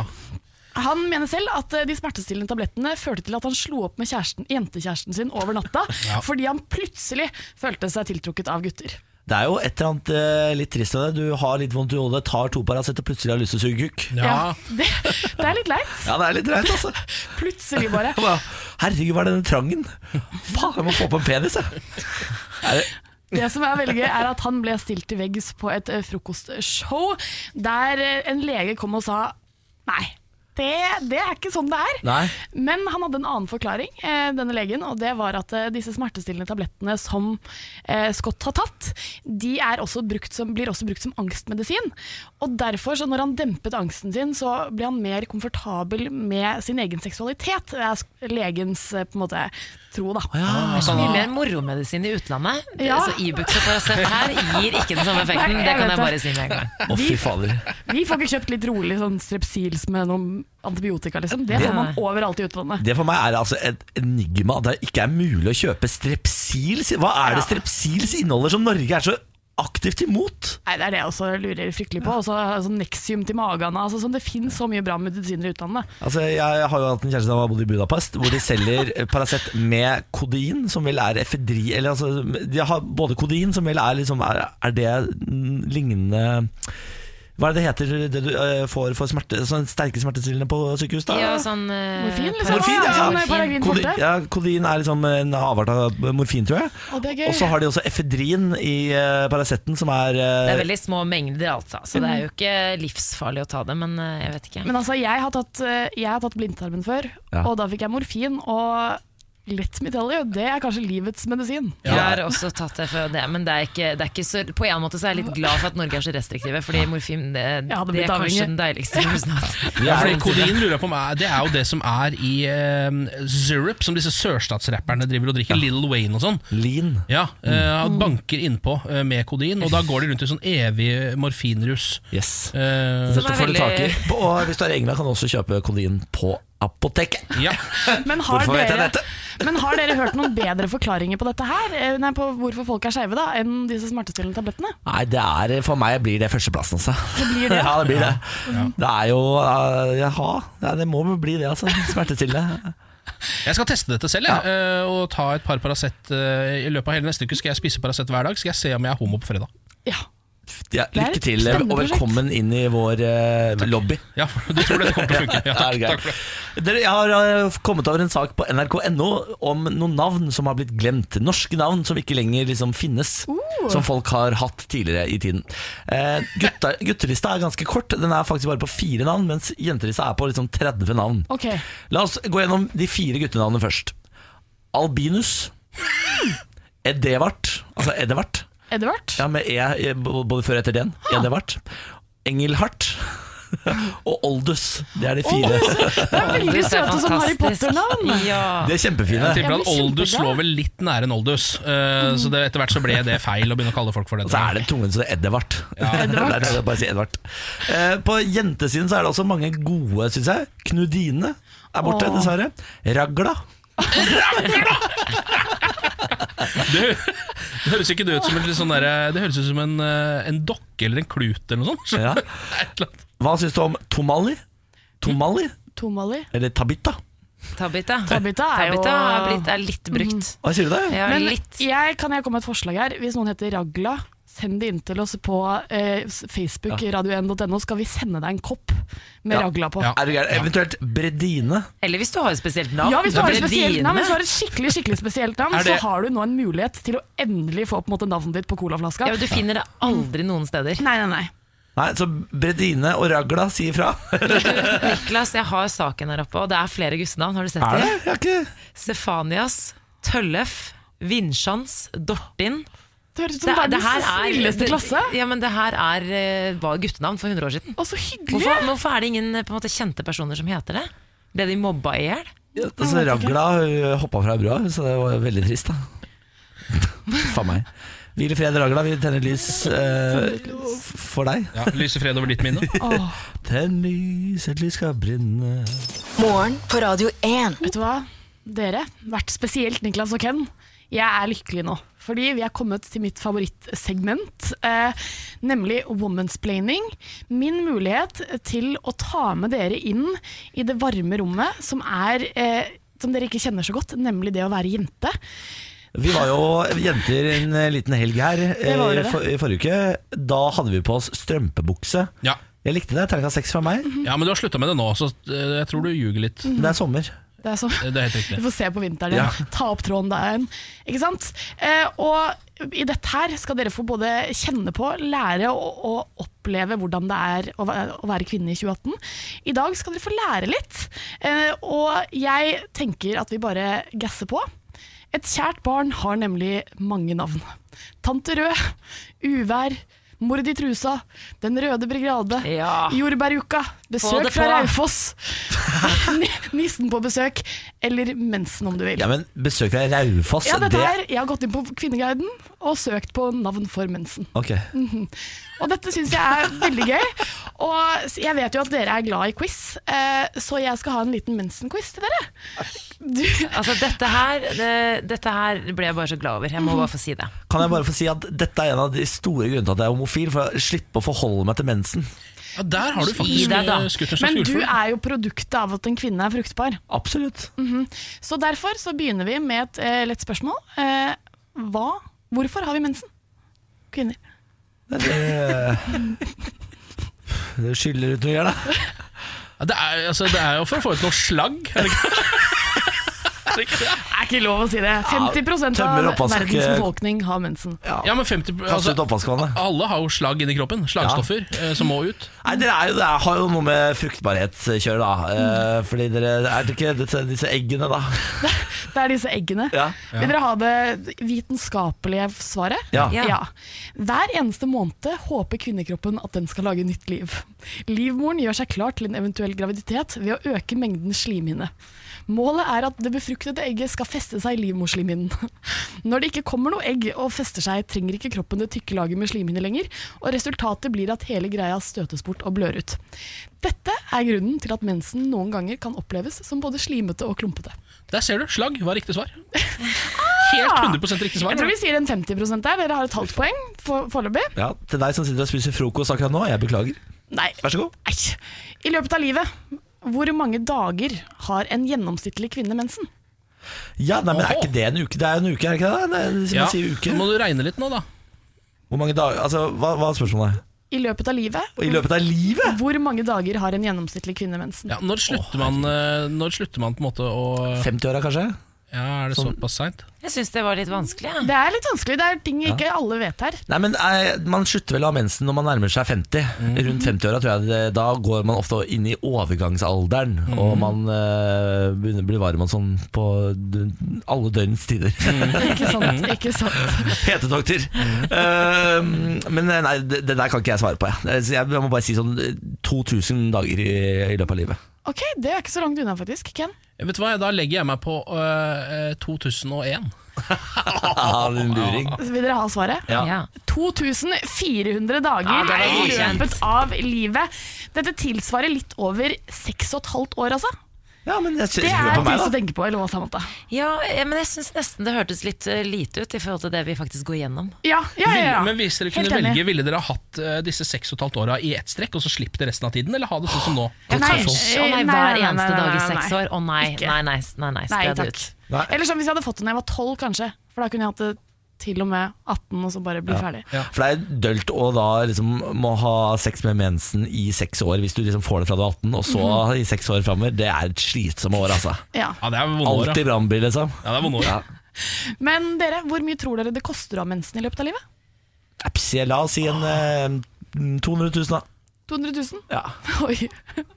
Han mener selv at eh, de smertestillende tablettene førte til at han slo opp med kjæresten, jentekjæresten sin over natta, fordi han plutselig følte seg tiltrukket av gutter.
Det er jo et eller annet eh, litt trist av det. Du har litt vondt i hodet, tar to Paracet og plutselig har lyst til å suge kukk.
Ja.
det, det er litt leit.
Ja, det er litt dreit, altså.
Plutselig bare.
Jeg bare, Herregud, hva er denne trangen? Faen, jeg må få på en penis, jeg.
Det som er veldig gøy, er at han ble stilt til veggs på et eh, frokostshow, der eh, en lege kom og sa nei. Det, det er ikke sånn det er.
Nei.
Men han hadde en annen forklaring, eh, denne legen, og det var at eh, disse smertestillende tablettene som eh, Scott har tatt, de er også brukt som, blir også brukt som angstmedisin. Og derfor, så når han dempet angsten sin, så ble han mer komfortabel med sin egen seksualitet. Det er sk- legens eh, på en måte, tro, da.
Det er så mye mer moromedisin i utlandet. Det-
Ja.
Så Ibux og Paracet her gir ikke den samme effekten.
Nei, jeg
det kan
vet
jeg bare
det.
si med en gang.
Å, fy fader.
Vi får ikke kjøpt litt rolig sånn strepsils med noen antibiotika, liksom. Det får man overalt i utlandet.
Det for meg er altså et enigma at det ikke er mulig å kjøpe strepsils. Hva er det strepsils inneholder som Norge er så aktivt imot?
Nei, Det er det jeg også lurer fryktelig på. Også, sånn Nexium til magen. Altså, sånn, det fins så mye bra medisiner i utlandet.
Altså, jeg har jo hatt en kjæreste som har bodd i Budapest, hvor de selger Paracet med kodein, som vel er efedri Eller altså, de har både kodein, som vel er liksom Er, er det mm, lignende Hva er det det heter det du eh, får for smerte, sånn sterke smertestillende på sykehus? da?
Ja, sånn, eh,
Morfin, liksom.
Morfin, ja.
Sånn, eh, Paragrin
Kodi-
forte.
ja, kodein er liksom en avart av morfin, tror jeg.
Å, det er gøy.
Og så har de også efedrin i uh, Paraceten, som er, eh,
Det er veldig små mengder, altså. Så det er jo ikke livsfarlig å ta det, men eh, jeg vet ikke.
Mhm. Men altså, jeg har tatt, eh, jeg har tatt blindtarmen før,
Ja.
og da fikk jeg morfin. Og let me tell you, det er kanskje livets medisin.
Jeg har også tatt det før det, men det er ikke, det er ikke så, på en måte så er jeg litt glad for at Norge er så restriktive, fordi morfin det, det
Jeg hadde
er
blitt avhengig.
kanskje den deiligste rusen jeg har hatt.
Ja, fordi Kodein lurer jeg på om er, det er jo det som er i eh, Zurup, som disse sørstatsrapperne driver og drikker. Little Wayne og sånn.
lean.
Ja, eh,
Mm.
han Banker innpå eh, med kodein, og da går de rundt i sånn evig morfinrus.
Yes.
Eh,
Dette får du
veldig-
tak i. På- Og hvis du er i England, kan du også kjøpe kodein på apoteket.
ja.
Men har,
Hvorfor vet jeg
dere,
dette?
men har dere hørt noen bedre forklaringer på dette her? Eh, Nei, på hvorfor folk er skeive, da, enn disse smertestillende tablettene?
Nei, det er, for meg blir det førsteplassen, altså. Det
blir det?
ja, det blir det. Det er jo eh, Jaha. Ja, det må vel bli det, altså. Smertestillende.
Jeg skal teste dette selv, jeg, eh, og ta et par Paracet eh, i løpet av hele neste uke. Skal jeg spise Paracet hver dag? Skal jeg se om jeg er homo på fredag?
Ja.
ja,
er
lykke
et
til,
spennende
og velkommen inn i vår eh, lobby.
Ja, for du tror det kommer til å funke. Ja,
Ja, det er
takk, takk for det.
greit. Dere, jeg har eh, kommet over en sak på nrk.no om noen navn som har blitt glemt. Norske navn som ikke lenger liksom finnes.
Uh.
Som folk har hatt tidligere i tiden. Eh, gutta, guttelista er ganske kort. Den er faktisk bare på fire navn, mens jentelista er på liksom 30 navn.
Ok,
La oss gå gjennom de fire guttenavnene først. Albinus. Edevard. Altså Edevard.
Edvard?
Ja, med E i- b- både før og etter den. Edevard. Engelhardt. Og Oldus. Det er de fire.
Det er veldig
Det er
søte som Harry
fantastisk.
Potter-navn.
Ja.
De er kjempefine.
Jeg tipper
Jeg
at
blir
oldus
kjempeglad.
lå vel litt nære en oldus. eh, Så det, etter hvert så ble det feil å begynne å kalle folk for det.
Og så er det tungen som er Edvard.
Edvard.
Nei, nei, nei, bare si Edvard. Eh, på jentesiden så er det også mange gode, syns jeg. Knudine er borte,
Åh.
dessverre. Ragla.
Det, det høres ikke det ut som en, litt sånn derre- det høres ut som en, eh, en dokke eller en klut eller noe sånt.
Ja.
Et eller annet.
Hva syns du om Tomali? Tomali?
Tomali.
Eller Tabita?
Tabita.
Tabita er jo Mhm.
Tabita er, blitt, er litt brukt.
Hva sier du der?
Ja,
Men
litt.
jeg, kan jeg komme med et forslag her? Hvis noen heter Ragla, send det inn til oss på eh, s- Facebook, radio1.no, skal vi sende deg en kopp med Ragla på.
Ja.
Ja.
Er du gæren? Eventuelt Bredine.
Eller hvis du har et spesielt navn.
hvis du, har et
Bredine.
spesielt navn, hvis du har et skikkelig skikkelig spesielt navn,
Er det-
så har du nå en mulighet til å endelig få på en måte navnet ditt på colaflaska.
Ja, men du finner det aldri noen steder.
Nei, nei, nei.
Nei, så Bredine og Ragla sier fra.
Niklas, jeg har saken her oppe, og det er flere guttenavn. Har du sett
Er det? Jeg
det?
har ikke
Stefanias, Tøllef, Vinsjans, Dortin.
Det høres ut som verdens snilleste klasse.
Ja, men det her er, eh, var guttenavn for 100 år siden.
Og så hyggelig!
Hvorfor, men hvorfor er det ingen eh, på en måte, kjente personer som heter det? Ble de mobba i hjel?
Altså, Ragla hoppa fra brua, så det var veldig trist, da. Faen meg. Hvil i fred, Ragla. Vi tenner lys eh, f- for deg.
Ja, Lyser fred over ditt minne.
Tenn lys, et lys skal brenne
Morgen på Radio 1.
Vet du hva? Dere, hvert spesielt Niklas og Ken, jeg er lykkelig nå. Fordi vi er kommet til mitt favorittsegment, eh, nemlig womansplaining. Min mulighet til å ta med dere inn i det varme rommet som, er, eh, som dere ikke kjenner så godt, nemlig det å være jente.
Vi var jo jenter en liten helg her eh,
Det var dere.
i for, i forrige uke. Da hadde vi på oss strømpebukse.
Ja.
Jeg likte det. Terninga seks fra meg.
ja, men du har slutta med det nå, så eh, jeg tror du ljuger litt.
Det er sommer.
Det er så
Det er helt riktig.
Du får se på vinteren igjen. Ta opp tråden der igjen. Ikke sant? Eh, og i dette her skal dere få både kjenne på, lære og, og oppleve hvordan det er å, væ- å være kvinne i 2018. I dag skal dere få lære litt. Eh, og jeg tenker at vi bare gasser på. Et kjært barn har nemlig mange navn. Tante Rød, Uvær, Mord i trusa, Den røde brigade,
Ja.
Jordbæruka,
Få
Besøk
det
fra
på.
Raufoss, Ni- Nissen på besøk, eller mensen om du vil.
Ja, men besøk fra Raufoss,
Ja, dette
det
her, Jeg har gått inn på Kvinneguiden og søkt på navn for mensen.
Ok.
Og dette syns jeg er veldig gøy. Og s- jeg vet jo at dere er glad i quiz, eh, så jeg skal ha en liten mensen-quiz til dere. Du,
Altså, dette her, det, dette her ble jeg bare så glad over. Jeg må bare få si det.
Kan jeg bare få si at dette er en av de store grunnene til at jeg er homofil, for å slippe å forholde meg til mensen.
Ja, der har du
Gi
faktisk
deg, da.
eh, skutt en slags
men du
gullfugl.
er jo produktet av at en kvinne er fruktbar. Mhm.
Absolutt.
Så derfor så begynner vi med et eh, lett spørsmål. Eh, hva, hvorfor har vi mensen? Kvinner.
Det det skyller ut noe gjør, da.
Ja, det, er, altså, det er jo for å få ut noe slagg. Er det ikke? Er det ikke det?
Det er ikke lov å si det. 50 av
tømmer oppvask-
verdens befolkning har mensen.
Ja, men 50
Kaste
altså,
ut oppvaskvannet.
Alle har jo slag inni kroppen. Slagstoffer eh, som må ut.
Nei, dere er jo, det har jo noe med fruktbarhetskjør, da. Eh, fordi dere Er det ikke disse, disse eggene, da?
Det er disse eggene.
Ja.
Vil dere ha det vitenskapelige svaret?
Ja.
Ja.
Hver eneste måned håper kvinnekroppen at den skal lage nytt liv. Livmoren gjør seg klar til en eventuell graviditet ved å øke mengden slimhinne. Målet er at det befruktede egget skal feste seg i livmorslimhinnen. Når det ikke kommer noe egg og fester seg, trenger ikke kroppen det tykke laget med slimhinne lenger, og resultatet blir at hele greia støtes bort og blør ut. Dette er grunnen til at mensen noen ganger kan oppleves som både slimete og klumpete.
Der ser du. Slagg var riktig svar. Helt 100 riktig svar.
Ah! Jeg tror vi sier en 50 der. Dere har et halvt poeng for- foreløpig.
Ja, Til deg som sitter og spiser frokost akkurat nå, jeg beklager.
Nei.
Vær så god.
Nei. I løpet av livet, hvor mange dager har en gjennomsnittlig kvinne mensen?
Ja, nei, men Er ikke det en uke? Det er jo en uke, er det ikke det? Nei, man
Ja,
sier
Nå
uke.
må du regne litt nå, da.
Hvor mange dager Altså, hva, hva er spørsmålet?
I løpet av livet,
Og I løpet av livet?
hvor mange dager har en gjennomsnittlig kvinne mensen?
Ja, når, slutter man, eh, når slutter man på en måte å
50-åra, kanskje?
Ja, Er det såpass seint?
Jeg syns det var litt vanskelig. Ja.
Det er litt vanskelig, det er ting ikke alle vet her.
Nei, men eh, Man slutter vel å ha mensen når man nærmer seg 50.
Mm.
Rundt 50-åra tror jeg det, da går man ofte inn i overgangsalderen.
Mm.
Og man eh, begynner å bli varm og sånn på d- alle døgnets tider.
Mm. Ikke sant? Ikke sant?
Hetetokter.
Mm.
Eh, men eh, nei, det, det der kan ikke jeg svare på. Jeg, Så jeg må bare si sånn eh, 2000 dager i, i løpet av livet.
Ok, det er ikke så langt unna faktisk, Ken.
Eh, Vet du hva, Da legger jeg meg på eh, eh, 2001.
Ah, din luring.
Så vil dere ha svaret?
Ja.
Ja.
2400
Ja,
dager
det er
i
godkjent.
løpet av livet. Dette tilsvarer litt over 6,5 år, altså.
Ja, men jeg,
Det er
hør på meg,
pris å
da.
tenke på, eller hva, Samantha?
Ja, eh, men jeg syns nesten det hørtes litt eh, lite ut i forhold til det vi faktisk går gjennom.
Ja, ja, ja. ja.
Men hvis dere kunne
Helt enig.
velge, ville dere hatt eh, disse seks og et halvt åra i ett strekk, og så slippe det resten av tiden, eller ha det sånn som nå?
Å
Nei,
nei,
eh, nei, nei,
hver
nei,
eneste
nei,
dag i
nei,
seks
nei.
år. Å nei,
Ikke.
nei, nei, nei, nei,
Nei
spre det
takk.
ut.
Nei.
Eller sånn hvis jeg hadde fått den da jeg var 12, kanskje. For da kunne jeg hatt det til og med 18, og så bare bli ferdig.
For det er dølt å da liksom må ha sex med mensen i seks år, hvis du liksom får det fra du er 18, og så
Mhm.
i seks år framover. Det er et slitsomme år, altså.
Ja.
Ja, det er vonde år,
Alltid
da.
brannbil, liksom.
Ja, det er vonde år.
Men dere, hvor mye tror dere det koster å ha mensen i løpet av livet?
Epsi, La oss si en eh, 200 000, da.
200 000?
Ja.
Oi.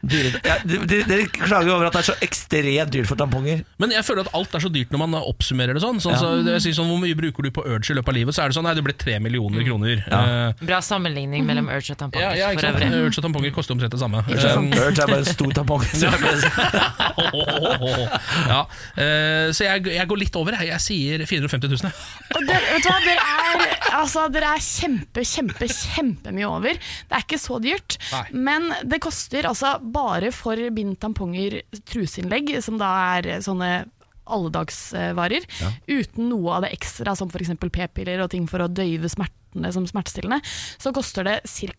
Dyre, ja, de- de- dere klager jo over at det er så ekstremt dyrt for tamponger.
Men jeg føler at alt er så dyrt når man oppsummerer det sånn. sånn,
Ja.
så, jeg sier sånn Hvor mye bruker du på Urge i løpet av livet? Så er det sånn, nei, det ble tre millioner kroner. Eh,
Bra sammenligning mellom
Mhm.
urge og
ja,
tamponger
ja, ikke
for
sant?
øvrig.
Urge og tamponger koster omtrent det samme. Eh,
Urge er bare en stor tampong. Så det blir-
ja. eh, så jeg, jeg går litt over. jeg. Jeg sier 450 000. jeg.
Og dere, vet du hva, dere er, altså, dere er kjempe, kjempe, kjempemye over. Det er ikke så dyrt.
Nei.
Men det koster altså bare for bind, tamponger, truseinnlegg, som da er sånne alledagsvarer, uten noe av det ekstra, som f.eks. p-piller og ting for å døyve smertene som smertestillende, så koster det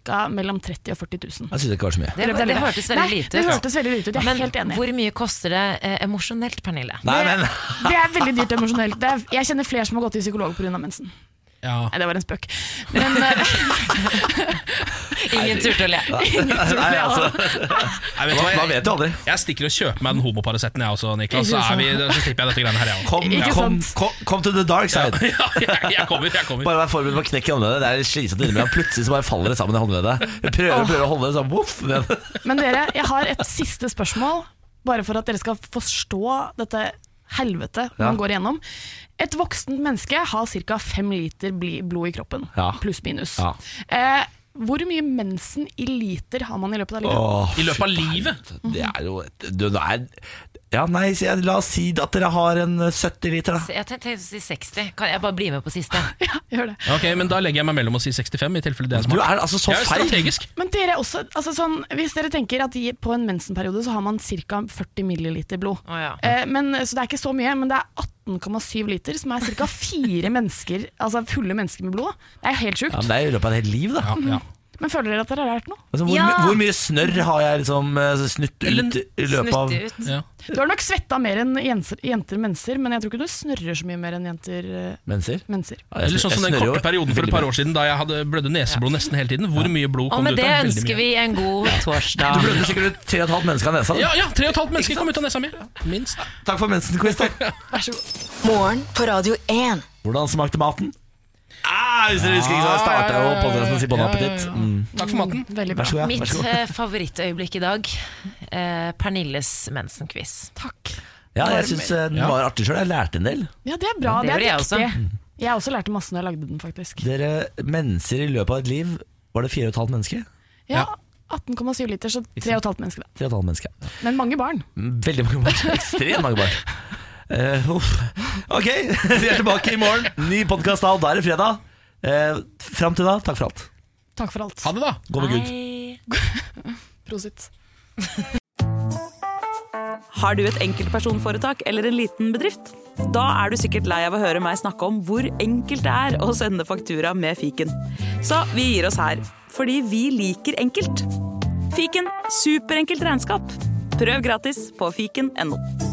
ca. mellom 30 000 og 40
Jeg
000.
syns det ikke var så mye.
Det, det hørtes veldig
Nei,
lite
Det
ut.
hørtes veldig lite ut, jeg er
Men
helt enig.
hvor mye koster det eh, emosjonelt, Pernille?
Nei, men
Det er veldig dyrt emosjonelt. Det er, jeg kjenner flere som har gått til psykolog pga. mensen.
Ja.
Nei, det var en spøk. Men eh,
Ingen turte å le.
Nei, altså,
Nei, vet du hva,
Man
jeg,
vet jo aldri.
jeg stikker og kjøper meg den homoparasitten jeg også, Niklas. Så,
Ikke
er
sant?
vi, så slipper jeg dette greiene her, jeg også.
Kom,
Ikke
kom,
sant?
kom, kom to the dark side.
Ja, jeg, jeg kommer. jeg kommer
Bare vær forberedt på å knekke i håndleddet. Det er slitsomt innimellom. Plutselig så bare faller det sammen i håndleddet. Jeg prøver, prøver å holde det sånn, voff. Men
Men dere, jeg har et siste spørsmål, bare for at dere skal forstå dette helvete man
Ja.
går igjennom. Et voksent menneske har ca. fem liter bli- blod i kroppen,
Ja.
pluss-minus.
Ja.
Eh, hvor mye mensen i liter har man i løpet av livet?
Åh,
I løpet av livet.
det er jo et- du, det er, Ja, nei, så jeg- la oss si at dere har en eh, 70 liter, da.
Jeg tenkte å si 60. Kan jeg bare bli med på siste?
Ja, gjør det.
Ok, Men da legger jeg meg mellom å si 65, i tilfelle det er
Du er
smart.
altså så
Jeg er
feil.
strategisk.
Men dere også, altså sånn, hvis dere tenker at i- på en mensenperiode så har man ca. 40 milliliter blod.
Å, ja.
eh, men, så det er ikke så mye, men det er 18,7 liter, som er ca. fire mennesker, altså fulle mennesker med blod. Det er helt sjukt.
Ja, men det er i løpet av et helt liv, da.
Ja, ja.
Men føler dere at dere har lært noe?
Altså, hvor, my- hvor mye snørr har jeg liksom eh, snytt ut i løpet av
Snutte ut.
Ja.
Du har nok svetta mer enn jenter, jenter menser, men jeg tror ikke du snørrer så mye mer enn jenter eh,
menser?
menser.
Ja, jeg
Eller
snør-
sånn som
jeg
den
snørrer jo
korte perioden for
veldig
et par
mye.
år siden da jeg hadde blødde neseblod nesten hele tiden. Hvor mye blod
Og
kom det
med
ut av?
det
Veldig
ønsker
mye.
vi en god
Du
torsdag.
blødde sikkert ut tre og et halvt menneske av nesa.
Ja,
Da.
ja, tre og et halvt menneske kom ut av nesa mi. Minst.
Takk for mensen-quiz, da.
Vær så god.
Morgen på Radio 1.
Hvordan smakte maten? Ah, hvis dere husker ikke, så starta jeg jo podkasten med å si bon appétit. Mm.
Takk for maten.
Veldig
Vær
bra.
så god. Ja. Vær
Mitt
så god.
eh, favorittøyeblikk i dag. Eh, Pernilles mensenquiz.
Takk.
Ja, jeg syns den
Ja.
var artig sjøl. Jeg lærte en del.
Ja, det er bra.
Det
Det, er
gjorde jeg også.
viktig. Jeg har også lærte masse når jeg lagde den, faktisk.
Dere menser i løpet av et liv Var det fire og et halvt menneske?
Ja, 18,7 liter, så 3,5 mennesker. da.
Tre og et halvt menneske Mm,
Men mange barn.
Veldig mange barn Ekstremt mange barn Eh, uff. Ok, vi er tilbake i morgen Ny podcast da, og da er det fredag uh, Frem til da, takk for alt
Takk for alt.
Ha det, da.
Gå med Gud
Hei.
Prosit.
Har du et enkeltpersonforetak eller en liten bedrift? Da er du sikkert lei av å høre meg snakke om hvor enkelt det er å sende faktura med fiken. Så vi gir oss her, fordi vi liker enkelt. Fiken superenkelt regnskap. Prøv gratis på fiken.no.